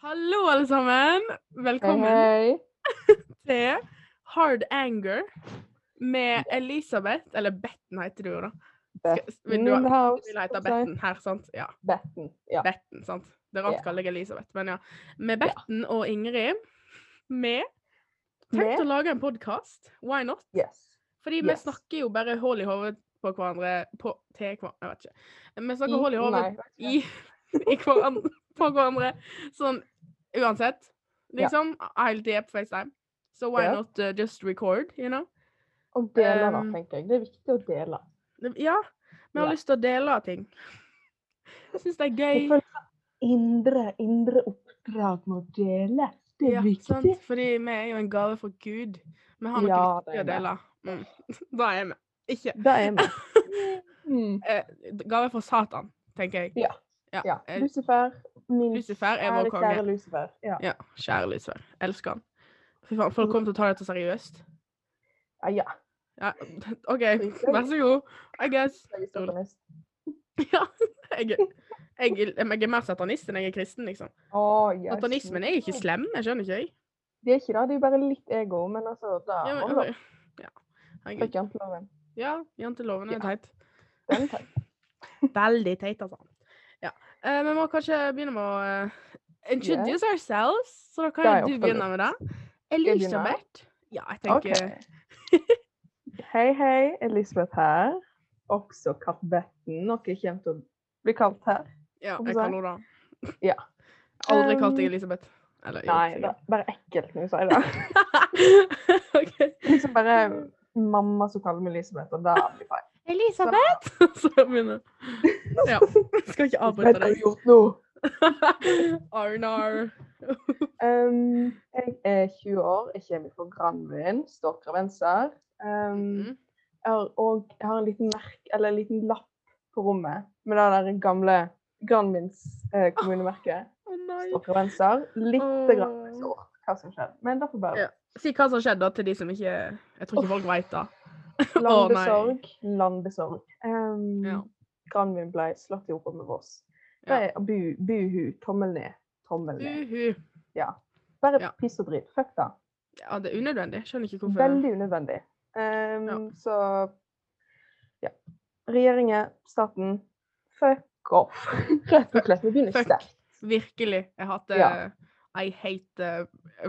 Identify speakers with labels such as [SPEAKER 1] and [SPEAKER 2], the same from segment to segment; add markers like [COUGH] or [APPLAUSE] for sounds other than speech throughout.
[SPEAKER 1] Hallo, alle sammen. Velkommen
[SPEAKER 2] Hei,
[SPEAKER 1] til Hard Anger med Elisabeth Eller Betten heter du jo, da.
[SPEAKER 2] hei.
[SPEAKER 1] Skal- Vil du,
[SPEAKER 2] Betten House,
[SPEAKER 1] vil hete
[SPEAKER 2] som sagt.
[SPEAKER 1] Betten her, sant? Ja.
[SPEAKER 2] Betten. Ja.
[SPEAKER 1] Betten, sant. Det er rart
[SPEAKER 2] Ja.
[SPEAKER 1] å kalle deg Elisabeth, men ja. Med Betten og Ingrid. Vi
[SPEAKER 2] Med-
[SPEAKER 1] tenkte å lage en podkast. Why not?
[SPEAKER 2] Yes.
[SPEAKER 1] Fordi
[SPEAKER 2] Yes.
[SPEAKER 1] vi snakker jo bare hull i hodet på hverandre på, til hverandre Jeg vet ikke. Vi snakker
[SPEAKER 2] I-
[SPEAKER 1] hull i hodet
[SPEAKER 2] Mm, nei, vet
[SPEAKER 1] i,
[SPEAKER 2] ikke.
[SPEAKER 1] [LAUGHS] i hverandre, på hverandre. Sånn uansett.
[SPEAKER 2] Ja.
[SPEAKER 1] Liksom. Hele tida på FaceTime. So why
[SPEAKER 2] Ja.
[SPEAKER 1] not uh, just record, you know?
[SPEAKER 2] Å dele, da,
[SPEAKER 1] ehm,
[SPEAKER 2] tenker jeg. Det er viktig å dele.
[SPEAKER 1] Det- Ja. Vi har
[SPEAKER 2] Ja.
[SPEAKER 1] lyst til å dele ting. [LAUGHS] Syns det er
[SPEAKER 2] Jeg
[SPEAKER 1] gøy.
[SPEAKER 2] føler at indre, indre oppdrag må dele. Det er
[SPEAKER 1] Ja, sant?
[SPEAKER 2] viktig.
[SPEAKER 1] Fordi vi er jo en gave fra Gud. Vi har noe
[SPEAKER 2] Ja,
[SPEAKER 1] viktig å
[SPEAKER 2] det er
[SPEAKER 1] dele. Mm. [LAUGHS] Da er vi. Ikke
[SPEAKER 2] Det
[SPEAKER 1] [LAUGHS]
[SPEAKER 2] er vi. Mm.
[SPEAKER 1] eh, Gave fra Satan, tenker jeg.
[SPEAKER 2] Ja.
[SPEAKER 1] Ja,
[SPEAKER 2] Ja.
[SPEAKER 1] eh,
[SPEAKER 2] Lucifer, min
[SPEAKER 1] Lucifer er vår
[SPEAKER 2] kjære,
[SPEAKER 1] konge.
[SPEAKER 2] kjære Lucifer. Ja.
[SPEAKER 1] Ja, kjære Lucifer. Elsker han. Fy faen,
[SPEAKER 2] Mm.
[SPEAKER 1] folk kommer til å ta dette seriøst.
[SPEAKER 2] Ah, Ja, ja.
[SPEAKER 1] Ja, [LAUGHS] OK, vær så god. I guess.
[SPEAKER 2] Jeg er satanist.
[SPEAKER 1] Ja, jeg, jeg, jeg er mer satanist enn jeg er kristen, liksom.
[SPEAKER 2] Å, yes.
[SPEAKER 1] Satanismen er ikke slem, jeg skjønner ikke, jeg.
[SPEAKER 2] Det er ikke det, det er bare litt ego, men altså da
[SPEAKER 1] Ja,
[SPEAKER 2] må
[SPEAKER 1] men,
[SPEAKER 2] du da
[SPEAKER 1] ok, ja. Herregud.
[SPEAKER 2] trykke janteloven.
[SPEAKER 1] ja janteloven er
[SPEAKER 2] Ja. [LAUGHS]
[SPEAKER 1] teit.
[SPEAKER 2] Den tar jeg.
[SPEAKER 1] Veldig teit, altså. Ja. Eh, vi må kanskje begynne med å eh, introduce ourselves, så da kan
[SPEAKER 2] Ja,
[SPEAKER 1] jo
[SPEAKER 2] ja,
[SPEAKER 1] du begynne med det.
[SPEAKER 2] jeg begynne?
[SPEAKER 1] Elisabeth. Ja, jeg tenker
[SPEAKER 2] Ok. Hei, hei. Elisabeth her. Også kalt Betten. Noe jeg kommer til å bli kalt her.
[SPEAKER 1] Ja,
[SPEAKER 2] Hvorfor
[SPEAKER 1] jeg
[SPEAKER 2] sa
[SPEAKER 1] kaller henne det.
[SPEAKER 2] Ja.
[SPEAKER 1] Aldri kalt deg
[SPEAKER 2] Um,
[SPEAKER 1] Elisabeth. Eller, jo,
[SPEAKER 2] Nei, det
[SPEAKER 1] sikkert.
[SPEAKER 2] er bare ekkelt når jeg sier det.
[SPEAKER 1] [LAUGHS] Ok.
[SPEAKER 2] [LAUGHS] Liksom bare mamma som kaller meg Elisabeth, og da blir det feil.
[SPEAKER 1] Elisabeth! [LAUGHS] Så jeg begynner. Ja. jeg Skal ikke avbryte
[SPEAKER 2] Hva har du
[SPEAKER 1] deg.
[SPEAKER 2] gjort nå?
[SPEAKER 1] Arnar.
[SPEAKER 2] Um, jeg er 20 år, jeg kommer fra Granvin, Stokkravenser. Um,
[SPEAKER 1] Mhm.
[SPEAKER 2] jeg, har, og jeg har en liten merk, eller en liten lapp på rommet med det der gamle Granvins eh, kommunemerket.
[SPEAKER 1] Å nei.
[SPEAKER 2] Stokkravenser.
[SPEAKER 1] Åh.
[SPEAKER 2] Litt grann sort hva som skjedde, men det får
[SPEAKER 1] Ja.
[SPEAKER 2] bare
[SPEAKER 1] Si hva som skjedde da til de som ikke Jeg tror ikke folk veit det. Åh, nei.
[SPEAKER 2] Landesorg, landesorg. Um,
[SPEAKER 1] Ja.
[SPEAKER 2] Granvin ble slått i hop med Voss. Det
[SPEAKER 1] Ja.
[SPEAKER 2] er bu, buhu, tommel ned, tommel ned.
[SPEAKER 1] Uhu.
[SPEAKER 2] Ja. Bare
[SPEAKER 1] Ja.
[SPEAKER 2] piss og dritt. Fuck det.
[SPEAKER 1] Ja, det er unødvendig. Skjønner ikke hvorfor.
[SPEAKER 2] Veldig unødvendig. Ehm, Så ja. Regjeringen, staten, fuck off. [LAUGHS] Rett og slett. Vi begynner
[SPEAKER 1] Fuck.
[SPEAKER 2] sterkt.
[SPEAKER 1] Virkelig. Jeg hater
[SPEAKER 2] Ja.
[SPEAKER 1] I hate uh,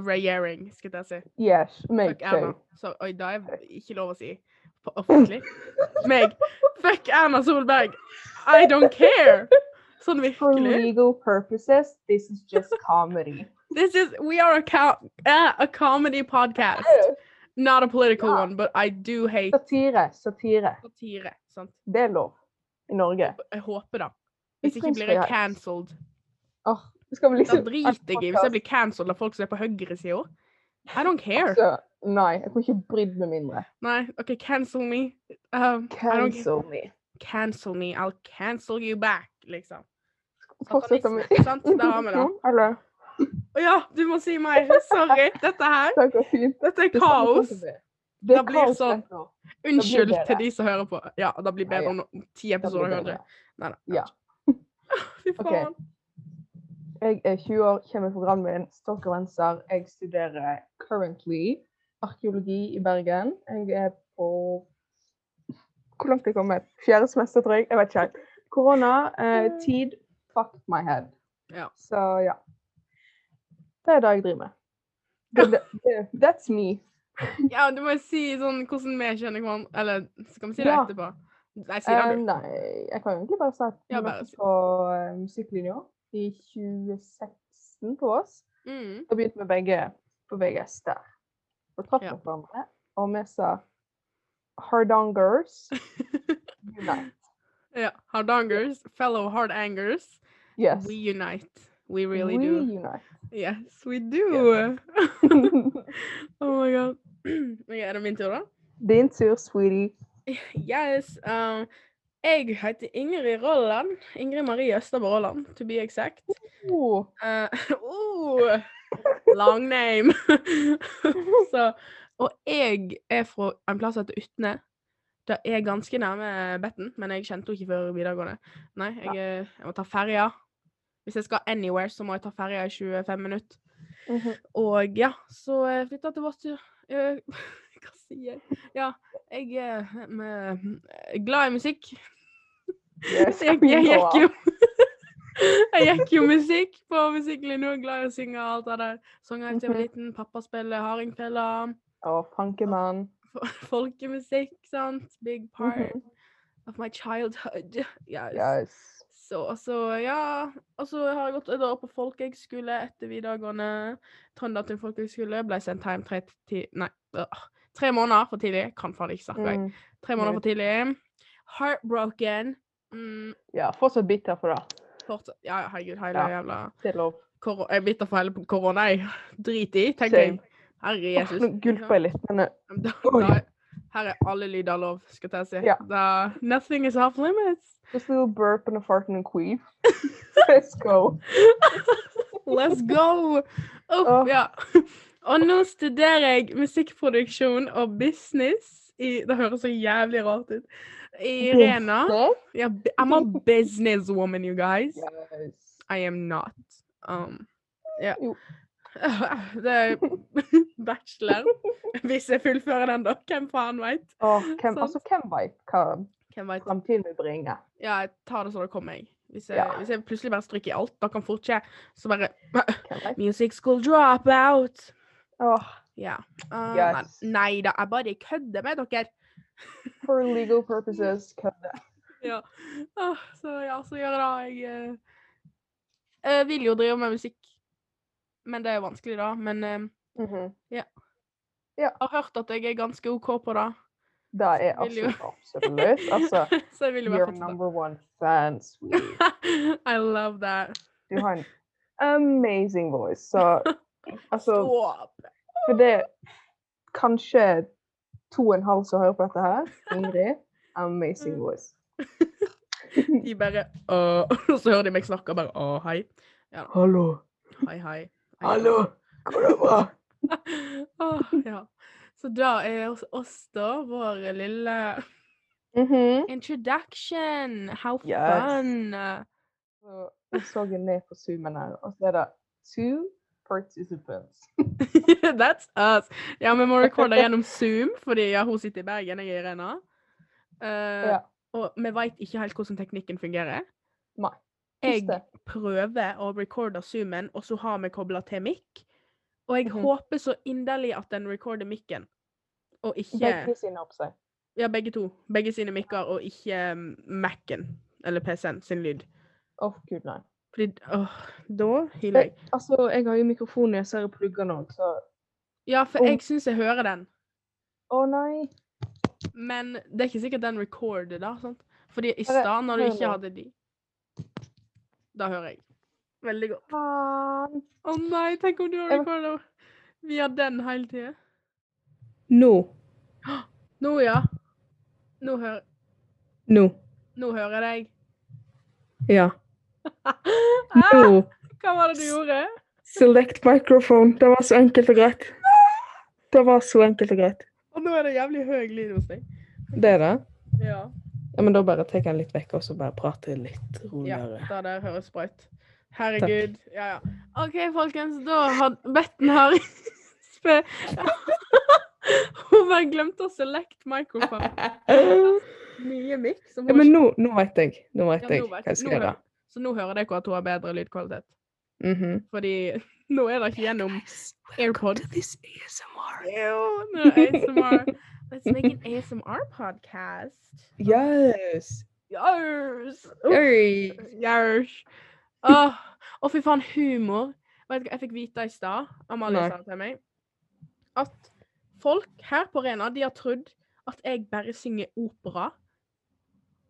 [SPEAKER 1] regjering, skulle jeg si.
[SPEAKER 2] Yes, make
[SPEAKER 1] Fuck Erna.
[SPEAKER 2] sure.
[SPEAKER 1] Så, oi, det er ikke lov å si på-
[SPEAKER 2] [LAUGHS]
[SPEAKER 1] offentlig. Meg. Fuck Erna Solberg. I don't care! Sånn
[SPEAKER 2] For
[SPEAKER 1] virkelig.
[SPEAKER 2] legal purposes, this is just comedy.
[SPEAKER 1] [LAUGHS] This is, we are a, co eh, a comedy podcast.
[SPEAKER 2] Oh.
[SPEAKER 1] Not a political
[SPEAKER 2] Ja.
[SPEAKER 1] one, but I do hate
[SPEAKER 2] Satire, satire.
[SPEAKER 1] satire. Sant?
[SPEAKER 2] Det er lov i Norge.
[SPEAKER 1] Jeg håper da. Hvis ikke blir jeg
[SPEAKER 2] Ytringsfrihet.
[SPEAKER 1] cancelled.
[SPEAKER 2] Åh, det skal vi
[SPEAKER 1] Da
[SPEAKER 2] liksom...
[SPEAKER 1] driter jeg i hvis jeg blir cancelled av folk som er på høyresida. I don't care.
[SPEAKER 2] Altså, nei, jeg kunne ikke brydd meg mindre.
[SPEAKER 1] Nei, OK, cancel me. Um, I don't care.
[SPEAKER 2] Cancel me.
[SPEAKER 1] Cancel me. I'll cancel you back, liksom.
[SPEAKER 2] Fortsette med
[SPEAKER 1] Satanisme, sant? Der har vi det.
[SPEAKER 2] [LAUGHS] Eller,
[SPEAKER 1] Å ja, du må si mer. Sorry. Dette her
[SPEAKER 2] det går fint.
[SPEAKER 1] Dette er
[SPEAKER 2] Det samme
[SPEAKER 1] kaos.
[SPEAKER 2] som det. Det
[SPEAKER 1] Da
[SPEAKER 2] er
[SPEAKER 1] blir
[SPEAKER 2] kaos
[SPEAKER 1] sånn-
[SPEAKER 2] rett nå.
[SPEAKER 1] Unnskyld
[SPEAKER 2] bedre.
[SPEAKER 1] til de som hører på. Ja, det blir
[SPEAKER 2] Ja,
[SPEAKER 1] bedre
[SPEAKER 2] ja.
[SPEAKER 1] om no- ti
[SPEAKER 2] Det blir
[SPEAKER 1] episoder hører
[SPEAKER 2] bedre.
[SPEAKER 1] jeg. Nei da.
[SPEAKER 2] Ja.
[SPEAKER 1] [LAUGHS] Fy
[SPEAKER 2] Ok.
[SPEAKER 1] faen.
[SPEAKER 2] Jeg er 20 år, kommer fra Brannbyen, stokkravenser. Jeg studerer currently arkeologi i Bergen. Jeg er på Hvor langt er jeg kommet? Fjerde semester, tror jeg. Jeg vet ikke. helt. Korona, eh, tid, fuck my head.
[SPEAKER 1] Mm. Ja.
[SPEAKER 2] Så ja. Det er det jeg driver med. Det, det, det, that's
[SPEAKER 1] [LAUGHS]
[SPEAKER 2] me.
[SPEAKER 1] Ja, du må jo si sånn hvordan vi kjenner hverandre. Eller skal vi si det
[SPEAKER 2] Ja.
[SPEAKER 1] etterpå? Nei, si det,
[SPEAKER 2] Eh,
[SPEAKER 1] du.
[SPEAKER 2] nei, jeg kan egentlig bare si at
[SPEAKER 1] Ja,
[SPEAKER 2] jeg
[SPEAKER 1] bare
[SPEAKER 2] var
[SPEAKER 1] si.
[SPEAKER 2] på eh, musikklinja i 2016 på oss.
[SPEAKER 1] Mm.
[SPEAKER 2] Da begynte vi begge på VGS der. Og traff
[SPEAKER 1] Ja.
[SPEAKER 2] mot hverandre. Og vi sa
[SPEAKER 1] [LAUGHS]
[SPEAKER 2] Hardongers unite.
[SPEAKER 1] Ja. Hardangers, fellow hardangers,
[SPEAKER 2] Yes.
[SPEAKER 1] we unite. We really
[SPEAKER 2] We
[SPEAKER 1] do.
[SPEAKER 2] unite.
[SPEAKER 1] Yes, we do. [LAUGHS] oh my god. [CLEARS THROAT] Ok, er det min tur, da?
[SPEAKER 2] [LAUGHS] Din tur, sweetie.
[SPEAKER 1] Yes. Um, jeg heter Ingrid Rolland. Ingrid Marie Østerborg Rolland, to be exact.
[SPEAKER 2] Oh,
[SPEAKER 1] Uh, [LAUGHS] oh, long name! [LAUGHS] Så, og jeg er fra en plass som heter Utne. Det er ganske nærme Betten, men jeg kjente henne ikke før videregående. Nei, jeg, eh, jeg må ta ferja. Hvis jeg skal anywhere, så må jeg ta ferja i 25 minutter.
[SPEAKER 2] Mm-hmm.
[SPEAKER 1] Og ja, så jeg flytta til Vadsø. Eh, [LAUGHS] Hva sier jeg? Ja, jeg er med, eh, glad i musikk. Så [LAUGHS] jeg, jeg gikk jo Jeg gikk jo musikk på musikklinja, glad i å synge og alt det der. Sanger jeg til jeg
[SPEAKER 2] Mhm.
[SPEAKER 1] var liten, pappa spiller hardingfela,
[SPEAKER 2] Å, fankemann.
[SPEAKER 1] fo- [LAUGHS] folkemusikk, sant? Big part
[SPEAKER 2] Mhm.
[SPEAKER 1] of my childhood. Yes.
[SPEAKER 2] Yes.
[SPEAKER 1] Så, så ja. Og så har jeg gått et år på folkehøgskole etter videregående. Trøndertun folkehøgskole ble sendt hjem tre, ti, nei, øh, tre måneder for tidlig. Kan faen ikke snakke. jeg.
[SPEAKER 2] Mm.
[SPEAKER 1] Tre måneder for tidlig. Heartbroken. Mm,
[SPEAKER 2] Ja, fortsatt bitter for det.
[SPEAKER 1] fortsatt. Ja, ja, herregud, hele
[SPEAKER 2] Ja.
[SPEAKER 1] jævla
[SPEAKER 2] Det er lov.
[SPEAKER 1] koro- Jeg er bitter for hele korona, jeg. Drit i, tenker jeg.
[SPEAKER 2] Same.
[SPEAKER 1] Herre
[SPEAKER 2] Åh,
[SPEAKER 1] Jesus.
[SPEAKER 2] Nå gulper jeg litt, men eh,
[SPEAKER 1] Da,
[SPEAKER 2] Oi.
[SPEAKER 1] da, her er alle lyder lov, skal jeg si.
[SPEAKER 2] Ja.
[SPEAKER 1] Da, nothing is off limits.
[SPEAKER 2] just a little burp and a fart and a
[SPEAKER 1] [LAUGHS]
[SPEAKER 2] queef. Let's go.
[SPEAKER 1] Let's go! Uff,
[SPEAKER 2] Åh.
[SPEAKER 1] ja. Og nå studerer jeg musikkproduksjon og business i Det høres så jævlig rart ut. I Rena. Ja, b- I'm a businesswoman, you guys.
[SPEAKER 2] Yes.
[SPEAKER 1] I am not. Um, ja.
[SPEAKER 2] Jo.
[SPEAKER 1] [LAUGHS] Det
[SPEAKER 2] [LAUGHS]
[SPEAKER 1] er bachelor. Hvis jeg fullfører den, da. Hvem faen veit?
[SPEAKER 2] Åh, hvem,
[SPEAKER 1] Sant.
[SPEAKER 2] altså, hvem veit hva
[SPEAKER 1] Hvem veit?
[SPEAKER 2] fremtiden vil bringe?
[SPEAKER 1] Ja, jeg tar det så det kommer, jeg. Hvis jeg,
[SPEAKER 2] Ja.
[SPEAKER 1] hvis jeg plutselig bare stryker i alt, da kan fort skje. Så bare [LAUGHS]
[SPEAKER 2] Hvem vet?
[SPEAKER 1] Music school drop out.
[SPEAKER 2] Åh,
[SPEAKER 1] Ja. Uh,
[SPEAKER 2] Yes.
[SPEAKER 1] Nei da, jeg bare kødder med dere.
[SPEAKER 2] for legal purposes, kødde.
[SPEAKER 1] Ja. [LAUGHS] Ah, så ja, så gjør jeg da. Jeg, eh, jeg vil jo drive med musikk, men det er jo vanskelig, da. Men eh,
[SPEAKER 2] Mhm.
[SPEAKER 1] jeg har hørt at jeg er ganske OK på det,
[SPEAKER 2] Det er
[SPEAKER 1] Vil jo.
[SPEAKER 2] absolutt absolutt. Altså,
[SPEAKER 1] [LAUGHS] så jeg vil jo
[SPEAKER 2] you're
[SPEAKER 1] bare fortsette.
[SPEAKER 2] number one fan, sweetie.
[SPEAKER 1] [LAUGHS] I love that.
[SPEAKER 2] Du har en amazing voice. Så altså,
[SPEAKER 1] Stop.
[SPEAKER 2] for det Kanskje to og en halv som hører på dette her, Ingrid. Amazing voice.
[SPEAKER 1] De bare «Åh», [LAUGHS] Og så hører de meg snakke og bare Å, hei.
[SPEAKER 2] Hallo.
[SPEAKER 1] Hei, hei. hei.
[SPEAKER 2] Hallo. Går det bra?
[SPEAKER 1] [LAUGHS] Åh, ja. Så da er oss, oss da, vår lille
[SPEAKER 2] Mhm.
[SPEAKER 1] Introduction! How
[SPEAKER 2] Yes. [LAUGHS]
[SPEAKER 1] fun!
[SPEAKER 2] Så Jeg så jo ned på Zoomen her, og så er det two participants. [LAUGHS]
[SPEAKER 1] That's us! Ja, vi må recorde gjennom Zoom, fordi ja, hun sitter i Bergen, jeg er i Rena. Eh,
[SPEAKER 2] Ja.
[SPEAKER 1] Og vi veit ikke helt hvordan teknikken fungerer.
[SPEAKER 2] Nei.
[SPEAKER 1] Jeg
[SPEAKER 2] Husk det.
[SPEAKER 1] prøver å recorde Zoomen, og så har vi kobla til mikk. Og jeg
[SPEAKER 2] Mhm.
[SPEAKER 1] håper så inderlig at den recorder mikken, og ikke
[SPEAKER 2] Begge sine opp seg.
[SPEAKER 1] Ja, begge to. Begge sine mikker, og ikke mm, Mac-en eller PC-en sin lyd.
[SPEAKER 2] Å, gud, nei.
[SPEAKER 1] Fordi åh, Da hyler jeg.
[SPEAKER 2] Altså, jeg har jo mikrofon i disse her pluggene òg, så
[SPEAKER 1] Ja, for
[SPEAKER 2] Om-
[SPEAKER 1] jeg syns jeg hører den.
[SPEAKER 2] Å nei.
[SPEAKER 1] Men det er ikke sikkert den recorder, da. sant? Fordi i
[SPEAKER 2] Bare
[SPEAKER 1] stad, når du
[SPEAKER 2] hør
[SPEAKER 1] ikke
[SPEAKER 2] nå.
[SPEAKER 1] hadde de Da hører jeg. Veldig godt.
[SPEAKER 2] Faen.
[SPEAKER 1] Å nei, tenk om du har
[SPEAKER 2] Jeg-
[SPEAKER 1] recorder via den hele tida. Nå. Nå, ja. Nå hører Nå. Nå hører jeg deg.
[SPEAKER 2] Ja.
[SPEAKER 1] Ah, hva var det du gjorde?
[SPEAKER 2] Select microphone. Det var så enkelt og greit. Det var så enkelt og greit.
[SPEAKER 1] Og nå er det jævlig høy lyd hos deg.
[SPEAKER 2] Det er det?
[SPEAKER 1] Ja.
[SPEAKER 2] Ja, men da bare tar jeg den litt vekk, og så bare prater jeg litt
[SPEAKER 1] Ja, det der høres bra ut. Herregud. Ja, ja. OK, folkens. Da har Betten har [LAUGHS] spe- Hun bare glemte å select microphone. Nye mic. som hun
[SPEAKER 2] Ja, men nå, nå vet jeg. Nå
[SPEAKER 1] ikke-
[SPEAKER 2] vet
[SPEAKER 1] Ja,
[SPEAKER 2] jeg
[SPEAKER 1] nå
[SPEAKER 2] hva
[SPEAKER 1] vet
[SPEAKER 2] jeg
[SPEAKER 1] jeg-
[SPEAKER 2] skal
[SPEAKER 1] nå
[SPEAKER 2] gjøre.
[SPEAKER 1] vet- Så nå hører dere at hun har bedre lydkvalitet.
[SPEAKER 2] Mhm.
[SPEAKER 1] Fordi nå er det ikke gjennom AirPod.
[SPEAKER 2] This ASMR.
[SPEAKER 1] Ew, nå er det ASMR. Let's make an ASMR podcast.
[SPEAKER 2] Yes.
[SPEAKER 1] Yes!
[SPEAKER 2] Oi.
[SPEAKER 1] Yes. Åh, å, fy faen, humor. Vet du hva jeg fikk vite i stad? Amalie
[SPEAKER 2] Nei.
[SPEAKER 1] sa til meg. At folk her på Rena, de har trodd at jeg bare synger opera.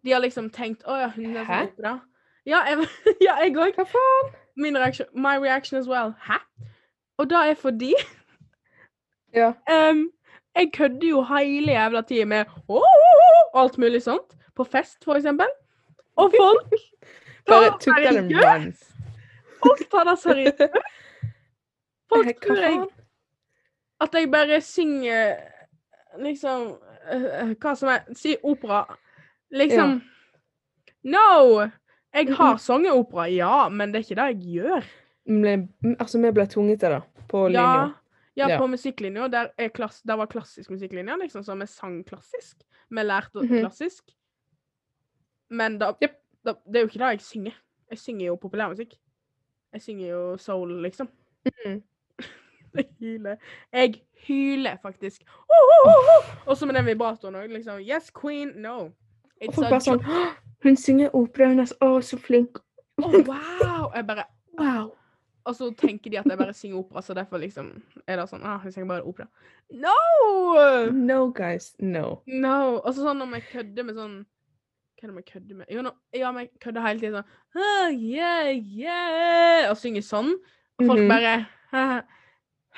[SPEAKER 1] De har liksom tenkt Å ja, hun er
[SPEAKER 2] Hæ?
[SPEAKER 1] sånn opera. Ja, jeg [LAUGHS] ja, jeg òg.
[SPEAKER 2] Hva faen?
[SPEAKER 1] Min reaksjon. My reaction as well. Hæ? Og det er fordi
[SPEAKER 2] Ja.
[SPEAKER 1] Ehm, jeg kødder jo hele jævla tida med «Åh, åh, åh», og alt mulig sånt. På fest, for eksempel. Og folk
[SPEAKER 2] [LAUGHS] Bare
[SPEAKER 1] tar
[SPEAKER 2] took that and
[SPEAKER 1] seriøst-
[SPEAKER 2] run.
[SPEAKER 1] Folk tar det seriøst. altså, [LAUGHS] Folk
[SPEAKER 2] Hva
[SPEAKER 1] tror jeg
[SPEAKER 2] faen?
[SPEAKER 1] at jeg bare synger liksom eh, Hva som er Si opera. Liksom No! Jeg har sangeopera, ja, men det er ikke det jeg gjør.
[SPEAKER 2] Ble, altså, vi ble tvunget til det på
[SPEAKER 1] Ja,
[SPEAKER 2] linja.
[SPEAKER 1] ja
[SPEAKER 2] Ja.
[SPEAKER 1] på musikklinja. Der, er klass, der var klassisk musikklinja, liksom, så vi sang klassisk. Vi lærte
[SPEAKER 2] Mhm.
[SPEAKER 1] klassisk. Men da,
[SPEAKER 2] Jep.
[SPEAKER 1] da Det er jo ikke det jeg synger. Jeg synger jo populærmusikk. Jeg synger jo soul, liksom.
[SPEAKER 2] Mhm.
[SPEAKER 1] [LAUGHS] Jeg hyler. Jeg hyler faktisk. Oh, oh, oh, oh! Og så med den vibratoren òg, liksom. Yes, queen, no.
[SPEAKER 2] Og
[SPEAKER 1] It's
[SPEAKER 2] folk
[SPEAKER 1] a
[SPEAKER 2] bare sånn «Åh, [GASPS] Hun synger opera, hun er så, å, så flink.
[SPEAKER 1] Å, wow! Jeg bare Wow! Og så tenker de at jeg bare synger opera, så derfor liksom er det sånn ah, Jeg synger bare opera. No!
[SPEAKER 2] No, guys, no.
[SPEAKER 1] No! Og så sånn når vi kødder med sånn Hva er det vi kødder med? Jo, når, ja, vi kødder hele tiden sånn ah, yeah, yeah, Og synger sånn. Og folk
[SPEAKER 2] Mhm.
[SPEAKER 1] bare «Hæ?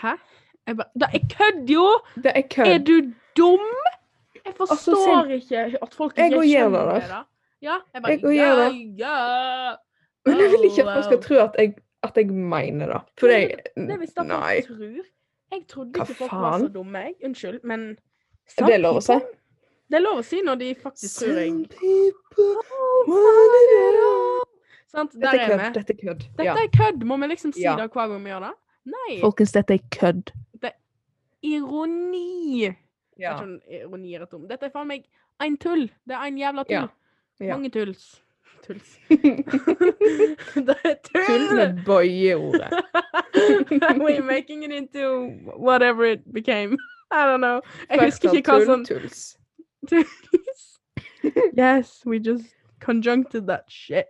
[SPEAKER 1] Hæ? Jeg bare Da, jeg kødder jo!
[SPEAKER 2] Det er
[SPEAKER 1] Er
[SPEAKER 2] kødd.
[SPEAKER 1] du dum? Jeg forstår
[SPEAKER 2] sen-
[SPEAKER 1] ikke at folk
[SPEAKER 2] Jeg
[SPEAKER 1] ikke
[SPEAKER 2] går gjerne
[SPEAKER 1] skjønner
[SPEAKER 2] der.
[SPEAKER 1] det. da. Ja, jeg bare
[SPEAKER 2] Jeg går gjerne
[SPEAKER 1] ja,
[SPEAKER 2] der.
[SPEAKER 1] ja.
[SPEAKER 2] Men [LAUGHS] jeg vil ikke at
[SPEAKER 1] Wow.
[SPEAKER 2] folk skal tro at jeg, at jeg mener det. For
[SPEAKER 1] Nei,
[SPEAKER 2] jeg
[SPEAKER 1] Det er hvis da folk
[SPEAKER 2] Mm, Nei.
[SPEAKER 1] tror. Jeg trodde
[SPEAKER 2] Hva
[SPEAKER 1] ikke folk var så
[SPEAKER 2] faen?
[SPEAKER 1] dumme, jeg. Unnskyld, men
[SPEAKER 2] Det er lov å si.
[SPEAKER 1] Det er lov å si når de faktisk tror jeg
[SPEAKER 2] Some people want it all.
[SPEAKER 1] Sant?
[SPEAKER 2] Dette
[SPEAKER 1] Der
[SPEAKER 2] er
[SPEAKER 1] er
[SPEAKER 2] kødd.
[SPEAKER 1] vi.
[SPEAKER 2] Dette er kødd.
[SPEAKER 1] Dette
[SPEAKER 2] Ja.
[SPEAKER 1] er kødd! Må vi liksom si
[SPEAKER 2] Ja.
[SPEAKER 1] det hver gang vi gjør det? Nei.
[SPEAKER 2] Folkens, dette er kødd.
[SPEAKER 1] Ironi! Jeg
[SPEAKER 2] Ja.
[SPEAKER 1] skjønner ironi er et ord. Dette er faen meg en tull. Det er en jævla tull.
[SPEAKER 2] Ja. Ja.
[SPEAKER 1] Mange tulls. Tulls.
[SPEAKER 2] [LAUGHS] Tull
[SPEAKER 1] det er [LAUGHS] tull!
[SPEAKER 2] med bøyeordet.
[SPEAKER 1] We're making it into whatever it became. I don't know. Jeg husker
[SPEAKER 2] Flertall
[SPEAKER 1] ikke hva
[SPEAKER 2] tull,
[SPEAKER 1] som
[SPEAKER 2] Tulls.
[SPEAKER 1] [LAUGHS] yes, we just conjuncted that shit.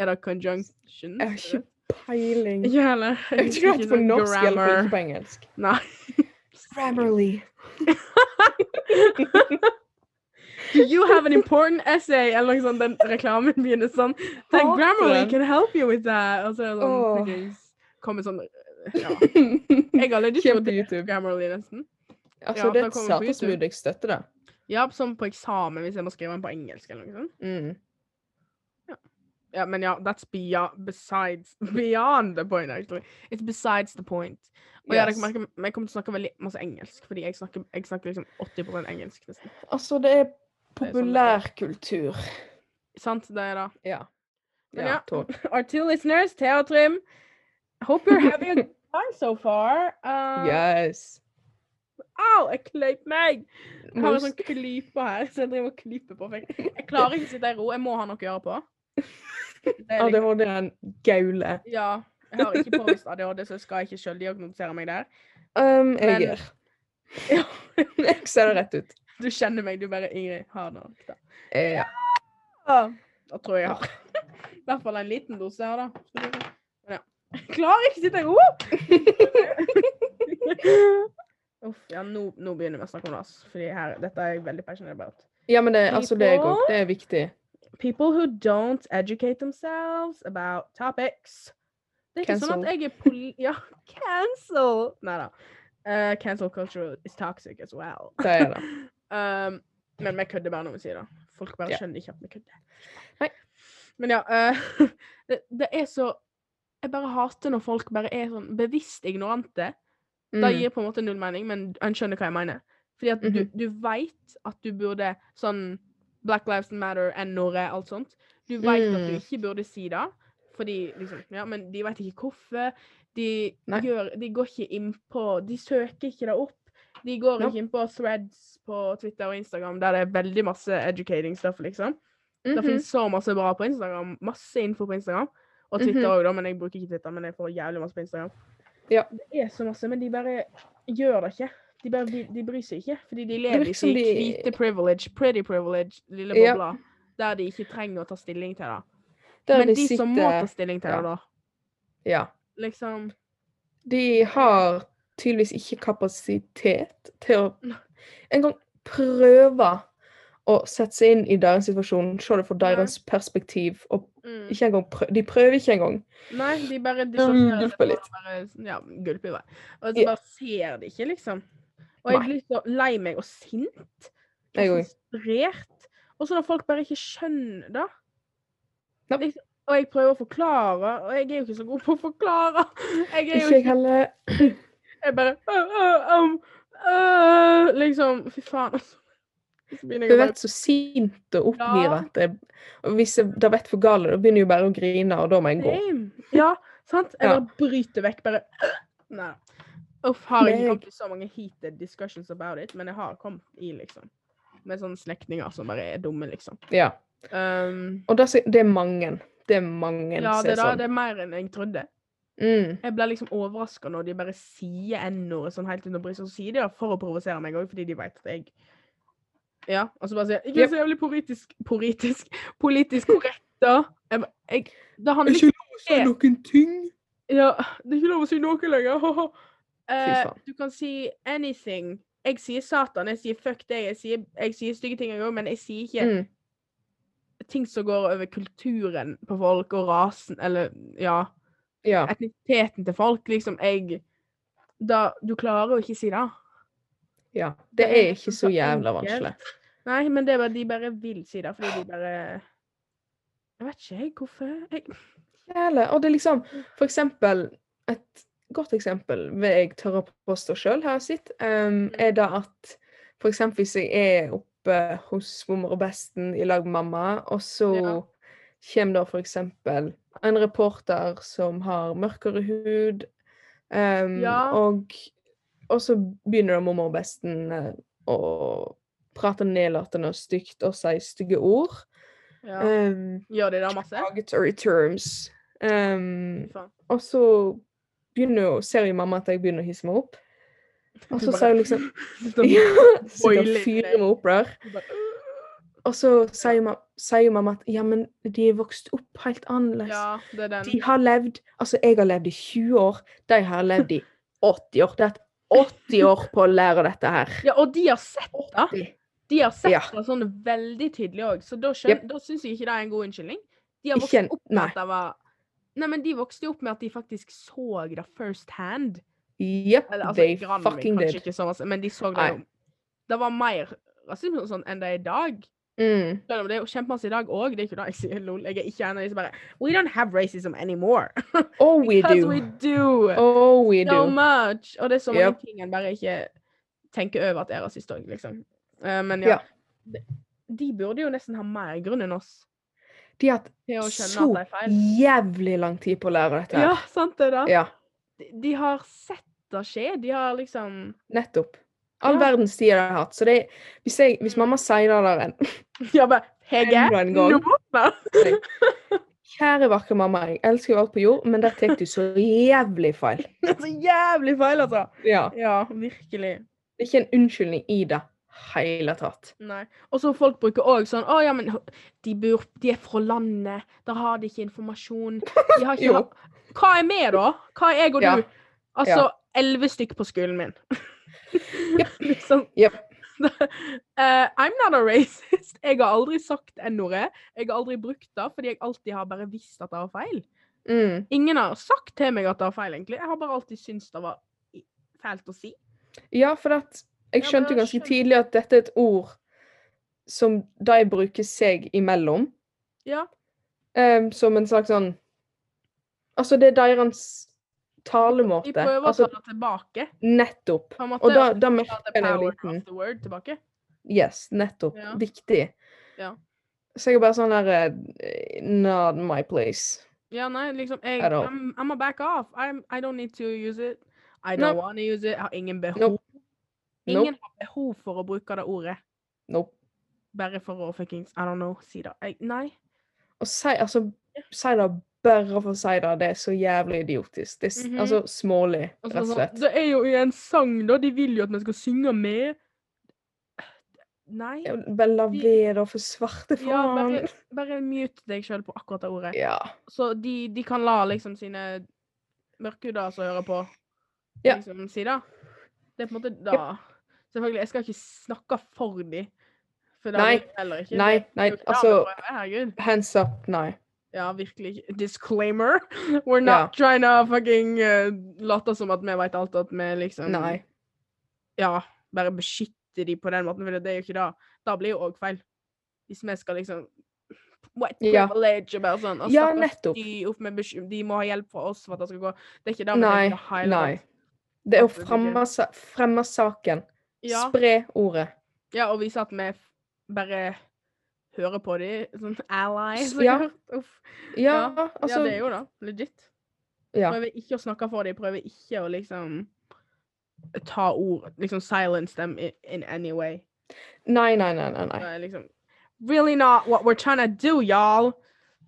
[SPEAKER 1] Er det conjunction?
[SPEAKER 2] Jeg har ikke peiling.
[SPEAKER 1] Ikke heller.
[SPEAKER 2] Jeg vet ikke hva det er på
[SPEAKER 1] sånn
[SPEAKER 2] norsk, i alle fall ikke
[SPEAKER 1] grammar.
[SPEAKER 2] på engelsk.
[SPEAKER 1] Nei.
[SPEAKER 2] Grammarly.
[SPEAKER 1] Do you have an important essay? Eller noe sånt. Den reklamen begynner sånn. Then
[SPEAKER 2] Hater
[SPEAKER 1] Grammarly
[SPEAKER 2] den.
[SPEAKER 1] can help you with that. Og så er det sånn
[SPEAKER 2] Åh.
[SPEAKER 1] fuckings- Kommer sånn
[SPEAKER 2] [LAUGHS]
[SPEAKER 1] Ja. Jeg har lyst til å
[SPEAKER 2] Kjem på
[SPEAKER 1] dele
[SPEAKER 2] YouTube.
[SPEAKER 1] Grammarly, nesten.
[SPEAKER 2] Altså,
[SPEAKER 1] Ja,
[SPEAKER 2] det
[SPEAKER 1] da
[SPEAKER 2] er et
[SPEAKER 1] kommer vi på YouTube.
[SPEAKER 2] satesmooth jeg støtter det.
[SPEAKER 1] Ja, som på eksamen, hvis jeg må skrive den på engelsk eller noe sånt.
[SPEAKER 2] Mm.
[SPEAKER 1] Ja, men ja, that's beyond, besides, [LAUGHS] beyond the point, actually. It's besides the point. Og ja, dere
[SPEAKER 2] Yes.
[SPEAKER 1] merker, men jeg kommer til å snakke veldig masse engelsk, fordi jeg snakker, jeg snakker liksom 80 engelsk. nesten.
[SPEAKER 2] Altså, det
[SPEAKER 1] sånn
[SPEAKER 2] er
[SPEAKER 1] det er.
[SPEAKER 2] populærkultur.
[SPEAKER 1] Sant, det er da.
[SPEAKER 2] Ja.
[SPEAKER 1] Men
[SPEAKER 2] ja,
[SPEAKER 1] ja.
[SPEAKER 2] tog.
[SPEAKER 1] [LAUGHS] Our two listeners, Thea og Trym, hope you're having a good time so far. Uh,
[SPEAKER 2] Yes.
[SPEAKER 1] Au, jeg kløyp meg! Jeg har en
[SPEAKER 2] Most-
[SPEAKER 1] sånn klype her, så jeg driver og klyper på meg. Jeg klarer ikke å sitte i ro, jeg må ha noe å gjøre på. Det er liksom-
[SPEAKER 2] ADHD er en gaule.
[SPEAKER 1] Ja, jeg har ikke påvist ADHD, så jeg skal ikke selvdiagnosere meg der.
[SPEAKER 2] Um, jeg
[SPEAKER 1] Men-
[SPEAKER 2] gjør. [LAUGHS] jeg ser det rett ut.
[SPEAKER 1] Du kjenner meg, du bare Ingrid har det nok, da.
[SPEAKER 2] Eh, ja.
[SPEAKER 1] Da tror jeg jeg har. [LAUGHS] I hvert fall en liten dose her, da. Skal vi se. Men ja. [LAUGHS] Jeg klarer ikke å sitte i ro! [LAUGHS] Uff, ja, nå, nå begynner vi å snakke om det, ass. Fordi her, dette er jeg veldig passionate about.
[SPEAKER 2] ja, men det, altså, det, er, godt.
[SPEAKER 1] People?
[SPEAKER 2] det er viktig.
[SPEAKER 1] People who don't educate themselves about topics. Det er ikke sånn at jeg er poli... [LAUGHS] Ja, cancel! Neida. Eh, cancel culture is toxic as well.
[SPEAKER 2] Det er det.
[SPEAKER 1] Um, men vi kødder bare når vi sier det. Folk bare
[SPEAKER 2] Ja.
[SPEAKER 1] skjønner ikke at vi kødder.
[SPEAKER 2] Nei.
[SPEAKER 1] Men ja, eh, [LAUGHS] det, det er så Jeg bare hater når folk bare er sånn bevisst ignorante.
[SPEAKER 2] Mm.
[SPEAKER 1] Det gir på en måte null mening, men en skjønner hva jeg mener. Fordi at du,
[SPEAKER 2] Mhm.
[SPEAKER 1] du veit at du burde sånn Black Lives Matter, NRE, alt sånt. Du veit at du
[SPEAKER 2] Mm.
[SPEAKER 1] ikke burde si det, fordi liksom Ja, men de veit ikke hvorfor. De,
[SPEAKER 2] Nei.
[SPEAKER 1] gjør, de går ikke innpå De søker ikke det opp. De går
[SPEAKER 2] Nope.
[SPEAKER 1] ikke innpå threads på Twitter og Instagram der det er veldig masse educating stuff, liksom. Det
[SPEAKER 2] Mhm. Mhm.
[SPEAKER 1] finnes så masse bra på Instagram. Masse info på Instagram. Og Twitter òg, da, men jeg bruker ikke Twitter. Men jeg får jævlig masse på Instagram.
[SPEAKER 2] Ja.
[SPEAKER 1] Det er så masse, men de bare gjør det ikke. De, bare, vil- de bryr seg ikke, fordi de lever
[SPEAKER 2] virker
[SPEAKER 1] ikke
[SPEAKER 2] som
[SPEAKER 1] i
[SPEAKER 2] de-
[SPEAKER 1] hvite privilege, pretty privilege, lille
[SPEAKER 2] Ja.
[SPEAKER 1] bobla, der de ikke trenger å ta stilling til det.
[SPEAKER 2] Der
[SPEAKER 1] Men de,
[SPEAKER 2] sitter,
[SPEAKER 1] som må ta stilling til
[SPEAKER 2] Ja.
[SPEAKER 1] det, da,
[SPEAKER 2] Ja.
[SPEAKER 1] liksom
[SPEAKER 2] De har tydeligvis ikke kapasitet til å engang prøve å sette seg inn i deres situasjon, se det fra
[SPEAKER 1] Nei.
[SPEAKER 2] deres perspektiv. Og
[SPEAKER 1] mm.
[SPEAKER 2] ikke engang prø de prøver ikke engang.
[SPEAKER 1] Nei, de bare
[SPEAKER 2] Mm,
[SPEAKER 1] dissosierer seg
[SPEAKER 2] gulper
[SPEAKER 1] fra
[SPEAKER 2] litt.
[SPEAKER 1] å være- eh, sånn, Ja, gulper i vei. Og så
[SPEAKER 2] Ja.
[SPEAKER 1] bare ser de ikke, liksom. Og jeg
[SPEAKER 2] Nei.
[SPEAKER 1] blir så lei meg og sint.
[SPEAKER 2] Jeg
[SPEAKER 1] og
[SPEAKER 2] òg.
[SPEAKER 1] Frustrert. Og så når folk bare ikke skjønner det.
[SPEAKER 2] Nope.
[SPEAKER 1] Liksom, Og jeg prøver å forklare, og jeg er jo ikke så god på å forklare. Jeg er jo
[SPEAKER 2] Ikke jeg heller.
[SPEAKER 1] Jeg bare «Åh, åh, åh, åh», Liksom, fy faen, altså.
[SPEAKER 3] Så begynner
[SPEAKER 2] Hun
[SPEAKER 3] jeg å
[SPEAKER 2] vet så sint
[SPEAKER 1] Ja.
[SPEAKER 2] og oppgivet. jeg- Og hvis jeg da vet for galt, da begynner jeg bare å grine, og da må jeg gå.
[SPEAKER 1] Damn. Ja, sant? Jeg
[SPEAKER 2] Ja.
[SPEAKER 1] bare bryter vekk, bare [CLEARS THROAT] Nei. Uff, har jeg ikke
[SPEAKER 2] Meg.
[SPEAKER 1] kommet i så mange heated discussions about it, men jeg har kommet i, liksom. Med sånne slektninger som bare er dumme, liksom.
[SPEAKER 2] Ja.
[SPEAKER 1] Um,
[SPEAKER 2] Og da, sier- det er mange. Det er mange
[SPEAKER 1] ja,
[SPEAKER 2] som
[SPEAKER 1] det,
[SPEAKER 2] er
[SPEAKER 1] er da,
[SPEAKER 2] sånn.
[SPEAKER 1] det er mer enn jeg trodde.
[SPEAKER 2] Mm.
[SPEAKER 1] Jeg blir liksom overraska når de bare sier n-ordet sånn helt under brystet. Og så sier de det for å provosere meg òg, fordi de veit at jeg Ja. Og så bare sier jeg, 'Ikke så jævlig politisk Politisk, politisk korrekt, da'. Jeg, ba- jeg, det handler ikke si
[SPEAKER 2] noen ting.
[SPEAKER 1] Ja, det er ikke lov å si noe lenger. [LAUGHS] Eh,
[SPEAKER 2] faen.
[SPEAKER 1] du kan si anything. Jeg sier Satan, jeg sier fuck deg, jeg sier, jeg sier stygge ting jeg òg, men jeg sier ikke
[SPEAKER 2] Mm.
[SPEAKER 1] ting som går over kulturen på folk og rasen, eller ja,
[SPEAKER 2] Ja.
[SPEAKER 1] etniteten til folk. Liksom, jeg da, Du klarer jo ikke si det.
[SPEAKER 2] ja. Det
[SPEAKER 1] Det er liksom
[SPEAKER 2] er ikke så
[SPEAKER 1] så
[SPEAKER 2] jævla
[SPEAKER 1] enkelt.
[SPEAKER 2] vanskelig.
[SPEAKER 1] Nei, men det er bare, de bare vil si det, fordi de bare Jeg vet ikke, jeg, hvorfor. Jeg,
[SPEAKER 2] Jævla. Og det er liksom,
[SPEAKER 1] Mm.
[SPEAKER 2] for eksempel, et godt eksempel vil jeg tørre å påstå sjøl her sitt,
[SPEAKER 1] Mm.
[SPEAKER 2] em, er da at for eksempel hvis jeg er oppe hos mormor og besten i lag med mamma, og så
[SPEAKER 1] Ja.
[SPEAKER 2] kommer da for eksempel en reporter som har mørkere hud, em,
[SPEAKER 1] Ja.
[SPEAKER 2] og, og så begynner da mormor og besten eh, å prate nedlatende og stygt og si stygge ord.
[SPEAKER 1] ja.
[SPEAKER 2] Um,
[SPEAKER 1] Gjør de det masse?
[SPEAKER 2] derogatory terms. Um,
[SPEAKER 1] Fy faen.
[SPEAKER 2] og så begynner jo, ser jo mamma at jeg begynner å hisse meg opp. Og så sier hun
[SPEAKER 1] [LAUGHS]
[SPEAKER 2] liksom [LAUGHS] ja, Sitter og
[SPEAKER 1] boiler
[SPEAKER 2] fyrer
[SPEAKER 1] deg.
[SPEAKER 2] meg opp der. Og så sier jo ma- sier jo mamma at ja, men de er vokst opp helt annerledes.
[SPEAKER 1] Ja, det er den.
[SPEAKER 2] De har levd Altså, jeg har levd i 20 år, de har levd
[SPEAKER 1] [LAUGHS]
[SPEAKER 2] i 80 år. Det er et 80 år på å lære dette her.
[SPEAKER 1] Ja, og de har sett det. De har sett
[SPEAKER 2] Ja.
[SPEAKER 1] det sånn veldig tydelig òg, så da, skjøn, da syns jeg ikke det er en god unnskyldning. De har
[SPEAKER 2] Ikke
[SPEAKER 1] vokst
[SPEAKER 2] en-
[SPEAKER 1] opp med
[SPEAKER 2] nei.
[SPEAKER 1] at det var Nei, men de vokste jo opp med at de faktisk så det first hand.
[SPEAKER 2] Jepp,
[SPEAKER 1] Eller altså,
[SPEAKER 2] they
[SPEAKER 1] grannen min
[SPEAKER 2] fucking
[SPEAKER 1] kanskje
[SPEAKER 2] did.
[SPEAKER 1] ikke så masse, men de så det
[SPEAKER 2] Nei.
[SPEAKER 1] jo. Det var mer rasisme og sånn enn det er i dag.
[SPEAKER 2] Mm.
[SPEAKER 1] Selv om det er jo kjempemasse i dag òg, det er ikke det jeg sier, lol. Jeg er ikke en av de som bare We don't have racism anymore.
[SPEAKER 2] Oh, we
[SPEAKER 1] Because
[SPEAKER 2] do.
[SPEAKER 1] we do.
[SPEAKER 2] Oh, we
[SPEAKER 1] so
[SPEAKER 2] do.
[SPEAKER 1] much! Og det er så mange
[SPEAKER 2] Yep.
[SPEAKER 1] ting en bare ikke tenker over at er rasist òg, liksom. Eh, men
[SPEAKER 2] Ja.
[SPEAKER 1] ja. De, de burde jo nesten ha mer grunn enn oss
[SPEAKER 2] De har hatt
[SPEAKER 1] til å skjønne
[SPEAKER 2] så
[SPEAKER 1] at det er feil.
[SPEAKER 2] jævlig lang tid på å lære dette.
[SPEAKER 1] Ja,
[SPEAKER 2] her.
[SPEAKER 1] sant det, da.
[SPEAKER 2] Ja,
[SPEAKER 1] De, de har sett det skje. De har liksom [LAUGHS]
[SPEAKER 2] nettopp. All
[SPEAKER 1] Ja.
[SPEAKER 2] verdens tid de har hatt. Så det, hvis, jeg, hvis mamma sier det der en [LAUGHS]
[SPEAKER 1] Ja, bare Hege,
[SPEAKER 2] Enda en gang.
[SPEAKER 1] nå åpner
[SPEAKER 2] Kjære, vakre mamma, jeg elsker jo alt på jord, men der tar du så jævlig feil.
[SPEAKER 1] det Så jævlig feil, altså!
[SPEAKER 2] Ja.
[SPEAKER 1] Ja, virkelig.
[SPEAKER 2] Det er ikke en unnskyldning i det hele tatt.
[SPEAKER 1] Nei. Og så folk bruker òg sånn Å ja, men de, bor, de er fra landet. Der har de ikke informasjon. De
[SPEAKER 2] [LAUGHS]
[SPEAKER 1] har ikke
[SPEAKER 2] Jo.
[SPEAKER 1] ha- Hva er vi, da? Hva er jeg og
[SPEAKER 2] Ja.
[SPEAKER 1] du? Altså elleve stykk på skolen min. [LAUGHS] liksom.
[SPEAKER 2] [LAUGHS] Jep.
[SPEAKER 1] Eh, I'm not a racist. [LAUGHS] Jeg har aldri sagt n-ordet. Jeg har aldri brukt det fordi jeg alltid har bare visst at det var feil.
[SPEAKER 2] Mm.
[SPEAKER 1] Ingen har sagt til meg at det var feil, egentlig. Jeg har bare alltid syntes det var i- fælt å si.
[SPEAKER 2] Ja, for at jeg
[SPEAKER 1] Ja,
[SPEAKER 2] skjønte
[SPEAKER 1] men
[SPEAKER 2] jo ganske
[SPEAKER 1] skjønner-
[SPEAKER 2] tidlig at dette er et ord som de bruker seg imellom.
[SPEAKER 1] Ja.
[SPEAKER 2] Em, som en slags sånn Altså, det er deres
[SPEAKER 1] De
[SPEAKER 2] talemåte.
[SPEAKER 1] prøver
[SPEAKER 2] Altså,
[SPEAKER 1] å ta det tilbake.
[SPEAKER 2] nettopp.
[SPEAKER 1] På en måte,
[SPEAKER 2] Og da, da
[SPEAKER 1] Ja,
[SPEAKER 2] merker
[SPEAKER 1] the
[SPEAKER 2] jeg når jeg er
[SPEAKER 1] power
[SPEAKER 2] liten.
[SPEAKER 1] of the word tilbake.
[SPEAKER 2] Yes, nettopp.
[SPEAKER 1] Ja.
[SPEAKER 2] Viktig.
[SPEAKER 1] Ja.
[SPEAKER 2] Så jeg er bare sånn der eh, Not my place.
[SPEAKER 1] Ja, nei, liksom jeg,
[SPEAKER 2] At all.
[SPEAKER 1] I'm, I'm a back off. I'm, I don't need to use it. I
[SPEAKER 2] Nope.
[SPEAKER 1] don't want to use it. Jeg har ingen behov.
[SPEAKER 2] Nope.
[SPEAKER 1] Ingen
[SPEAKER 2] Nope.
[SPEAKER 1] har behov for å bruke det ordet.
[SPEAKER 2] Nope.
[SPEAKER 1] Bare for å fuckings I don't know, si det. Jeg, nei.
[SPEAKER 2] Og si, altså, si det bare for å si det, det er så jævlig idiotisk. Det er s-
[SPEAKER 1] Mhm.
[SPEAKER 2] altså smålig,
[SPEAKER 1] Og så
[SPEAKER 2] rett og
[SPEAKER 1] sånn,
[SPEAKER 2] slett.
[SPEAKER 1] det er jo i en sang, da. De vil jo at vi skal synge med. Nei.
[SPEAKER 2] Ja, Bare la
[SPEAKER 1] de-
[SPEAKER 2] være, da, for svarte
[SPEAKER 1] Ja, bare,
[SPEAKER 2] faen.
[SPEAKER 1] bare mute deg sjøl på akkurat det ordet.
[SPEAKER 2] Ja.
[SPEAKER 1] Så de, de kan la liksom sine mørkhuder som hører på,
[SPEAKER 2] Ja.
[SPEAKER 1] liksom si det. Det er på en måte da Selvfølgelig, jeg skal ikke snakke for de. For det
[SPEAKER 2] Nei.
[SPEAKER 1] vil jeg heller ikke.
[SPEAKER 2] Nei,
[SPEAKER 1] Det er
[SPEAKER 2] nei,
[SPEAKER 1] jo ikke det
[SPEAKER 2] altså
[SPEAKER 1] vi prøver, Herregud.
[SPEAKER 2] Hands up, nei.
[SPEAKER 1] Ja, virkelig. ikke. Disclaimer. [LAUGHS] We're not
[SPEAKER 2] Ja.
[SPEAKER 1] trying to fucking eh, late som at vi veit alt, at vi liksom
[SPEAKER 2] Nei.
[SPEAKER 1] Ja, bare beskytter de på den måten, for det er jo ikke det. Da blir jo òg feil. Hvis vi skal liksom White
[SPEAKER 2] Ja.
[SPEAKER 1] privilege og bare sånn. og
[SPEAKER 2] Ja,
[SPEAKER 1] stakkars
[SPEAKER 2] nettopp.
[SPEAKER 1] de, opp med besky- de må ha hjelp fra oss for at det skal gå. Det er ikke det vi
[SPEAKER 2] Nei,
[SPEAKER 1] tenker i det hele
[SPEAKER 2] nei.
[SPEAKER 1] tatt.
[SPEAKER 2] Det er å
[SPEAKER 1] Absolutt ikke.
[SPEAKER 2] fremme, sa- fremme saken.
[SPEAKER 1] Ja,
[SPEAKER 2] Spre ordet.
[SPEAKER 1] ja, og vise at vi er f- bare høre på de, sånn allies.
[SPEAKER 2] Ja.
[SPEAKER 1] Uff.
[SPEAKER 2] Ja,
[SPEAKER 1] ja,
[SPEAKER 2] altså
[SPEAKER 1] det er jo da. Legit.
[SPEAKER 2] Ja.
[SPEAKER 1] Prøver ikke å snakke for dem, prøver ikke å liksom ta ord, liksom silence them i- in any way.
[SPEAKER 2] Nei, nei, nei. nei,
[SPEAKER 1] Det
[SPEAKER 2] nei.
[SPEAKER 1] er liksom Really not what we're trying to do, y'all.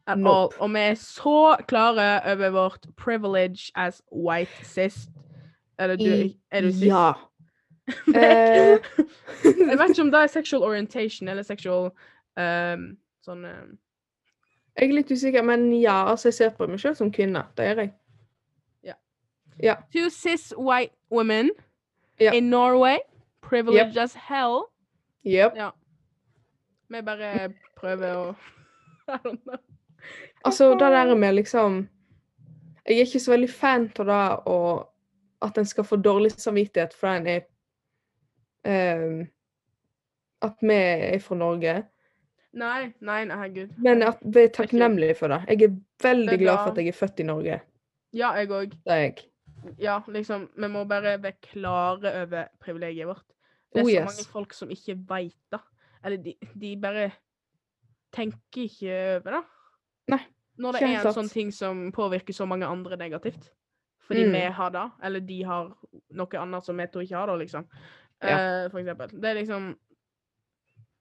[SPEAKER 1] At
[SPEAKER 2] Nope.
[SPEAKER 1] all. Og vi er så klare over vårt privilege as white cis. Eller du,
[SPEAKER 2] I-
[SPEAKER 1] er du cis?
[SPEAKER 2] Ja.
[SPEAKER 1] [LAUGHS]
[SPEAKER 2] Eh,
[SPEAKER 1] Jeg vet ikke om det er sexual orientation eller sexual ehm, sånn ehm,
[SPEAKER 2] Jeg er litt usikker, men ja, altså jeg ser på meg sjøl som kvinne. Det gjør jeg.
[SPEAKER 1] Two cis white women
[SPEAKER 2] Ja.
[SPEAKER 1] in Norway. Privileged as hell.
[SPEAKER 2] Yep.
[SPEAKER 1] Ja. Vi bare prøver å [LAUGHS] I don't know.
[SPEAKER 2] Altså, det der med liksom Jeg er ikke så veldig fan av det og at en skal få dårlig samvittighet for en er ehm, At vi er fra Norge.
[SPEAKER 1] Nei, nei, nei, herregud.
[SPEAKER 2] Men at vi er takknemlige for det. Jeg er veldig
[SPEAKER 1] Det er
[SPEAKER 2] glad for
[SPEAKER 1] bra.
[SPEAKER 2] at jeg er født i Norge.
[SPEAKER 1] Ja, jeg òg.
[SPEAKER 2] Det er jeg.
[SPEAKER 1] Ja, liksom, vi må bare være klare over privilegiet vårt. Det er
[SPEAKER 2] Oh,
[SPEAKER 1] så mange
[SPEAKER 2] yes.
[SPEAKER 1] folk som ikke veit det. Eller de, de bare tenker ikke over det.
[SPEAKER 2] Nei,
[SPEAKER 1] Når det
[SPEAKER 2] ikke
[SPEAKER 1] er
[SPEAKER 2] helt
[SPEAKER 1] en
[SPEAKER 2] sant.
[SPEAKER 1] sånn ting som påvirker så mange andre negativt. Fordi
[SPEAKER 2] Mm.
[SPEAKER 1] vi har det, eller de har noe annet som vi to ikke har, da, liksom. Eh, for eksempel. Det er liksom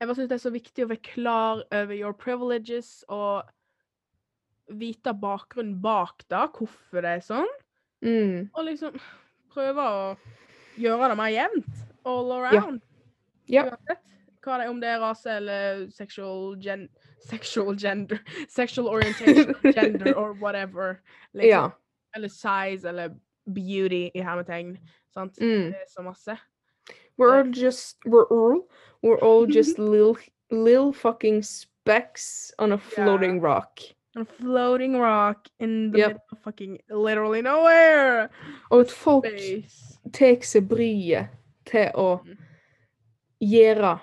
[SPEAKER 1] Jeg bare syns det er så viktig å være klar over your privileges og vite bakgrunnen bak det, hvorfor det er sånn
[SPEAKER 2] Mm.
[SPEAKER 1] og liksom prøve å gjøre det mer jevnt. All around.
[SPEAKER 2] Ja.
[SPEAKER 1] Uansett hva det, om det er rase eller sexual gen... Sexual gender. [LAUGHS] Sexual
[SPEAKER 2] [LAUGHS]
[SPEAKER 1] orientation, gender or whatever.
[SPEAKER 2] Ja.
[SPEAKER 1] Liksom. Eller size eller beauty i hermetegn. Sant?
[SPEAKER 2] Mm.
[SPEAKER 1] Det er så masse.
[SPEAKER 2] We're all just we're all we're
[SPEAKER 1] [LAUGHS]
[SPEAKER 2] all just little little fucking specks on a floating rock.
[SPEAKER 1] A floating rock in the
[SPEAKER 2] Yep.
[SPEAKER 1] middle of fucking literally nowhere.
[SPEAKER 2] Og at folk
[SPEAKER 1] Space.
[SPEAKER 2] tar seg bryet til å
[SPEAKER 1] Mhm.
[SPEAKER 2] gjøre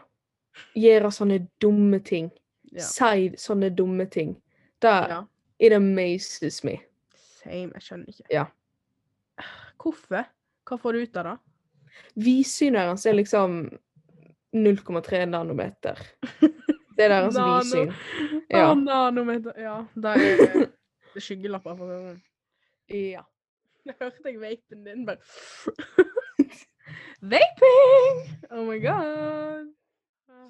[SPEAKER 2] gjøre sånne dumme ting.
[SPEAKER 1] Ja.
[SPEAKER 2] Si sånne dumme ting. Det
[SPEAKER 1] Ja.
[SPEAKER 2] it amazes me.
[SPEAKER 1] Same. Jeg skjønner ikke.
[SPEAKER 2] Ja.
[SPEAKER 1] [SIGHS] Hvorfor? Hva får du ut av det?
[SPEAKER 2] Vidsyneren hans er liksom 0,3 nanometer. Det er
[SPEAKER 1] [LAUGHS]
[SPEAKER 2] deres
[SPEAKER 1] Nano.
[SPEAKER 2] vidsyn.
[SPEAKER 1] Ja.
[SPEAKER 2] Ja.
[SPEAKER 1] nanometer. Ja, det
[SPEAKER 2] [LAUGHS]
[SPEAKER 1] er eh, skyggelapper. For å si det sånn.
[SPEAKER 2] ja.
[SPEAKER 1] [LAUGHS] Jeg hørte jeg vapen din bare Vaping! Oh my god.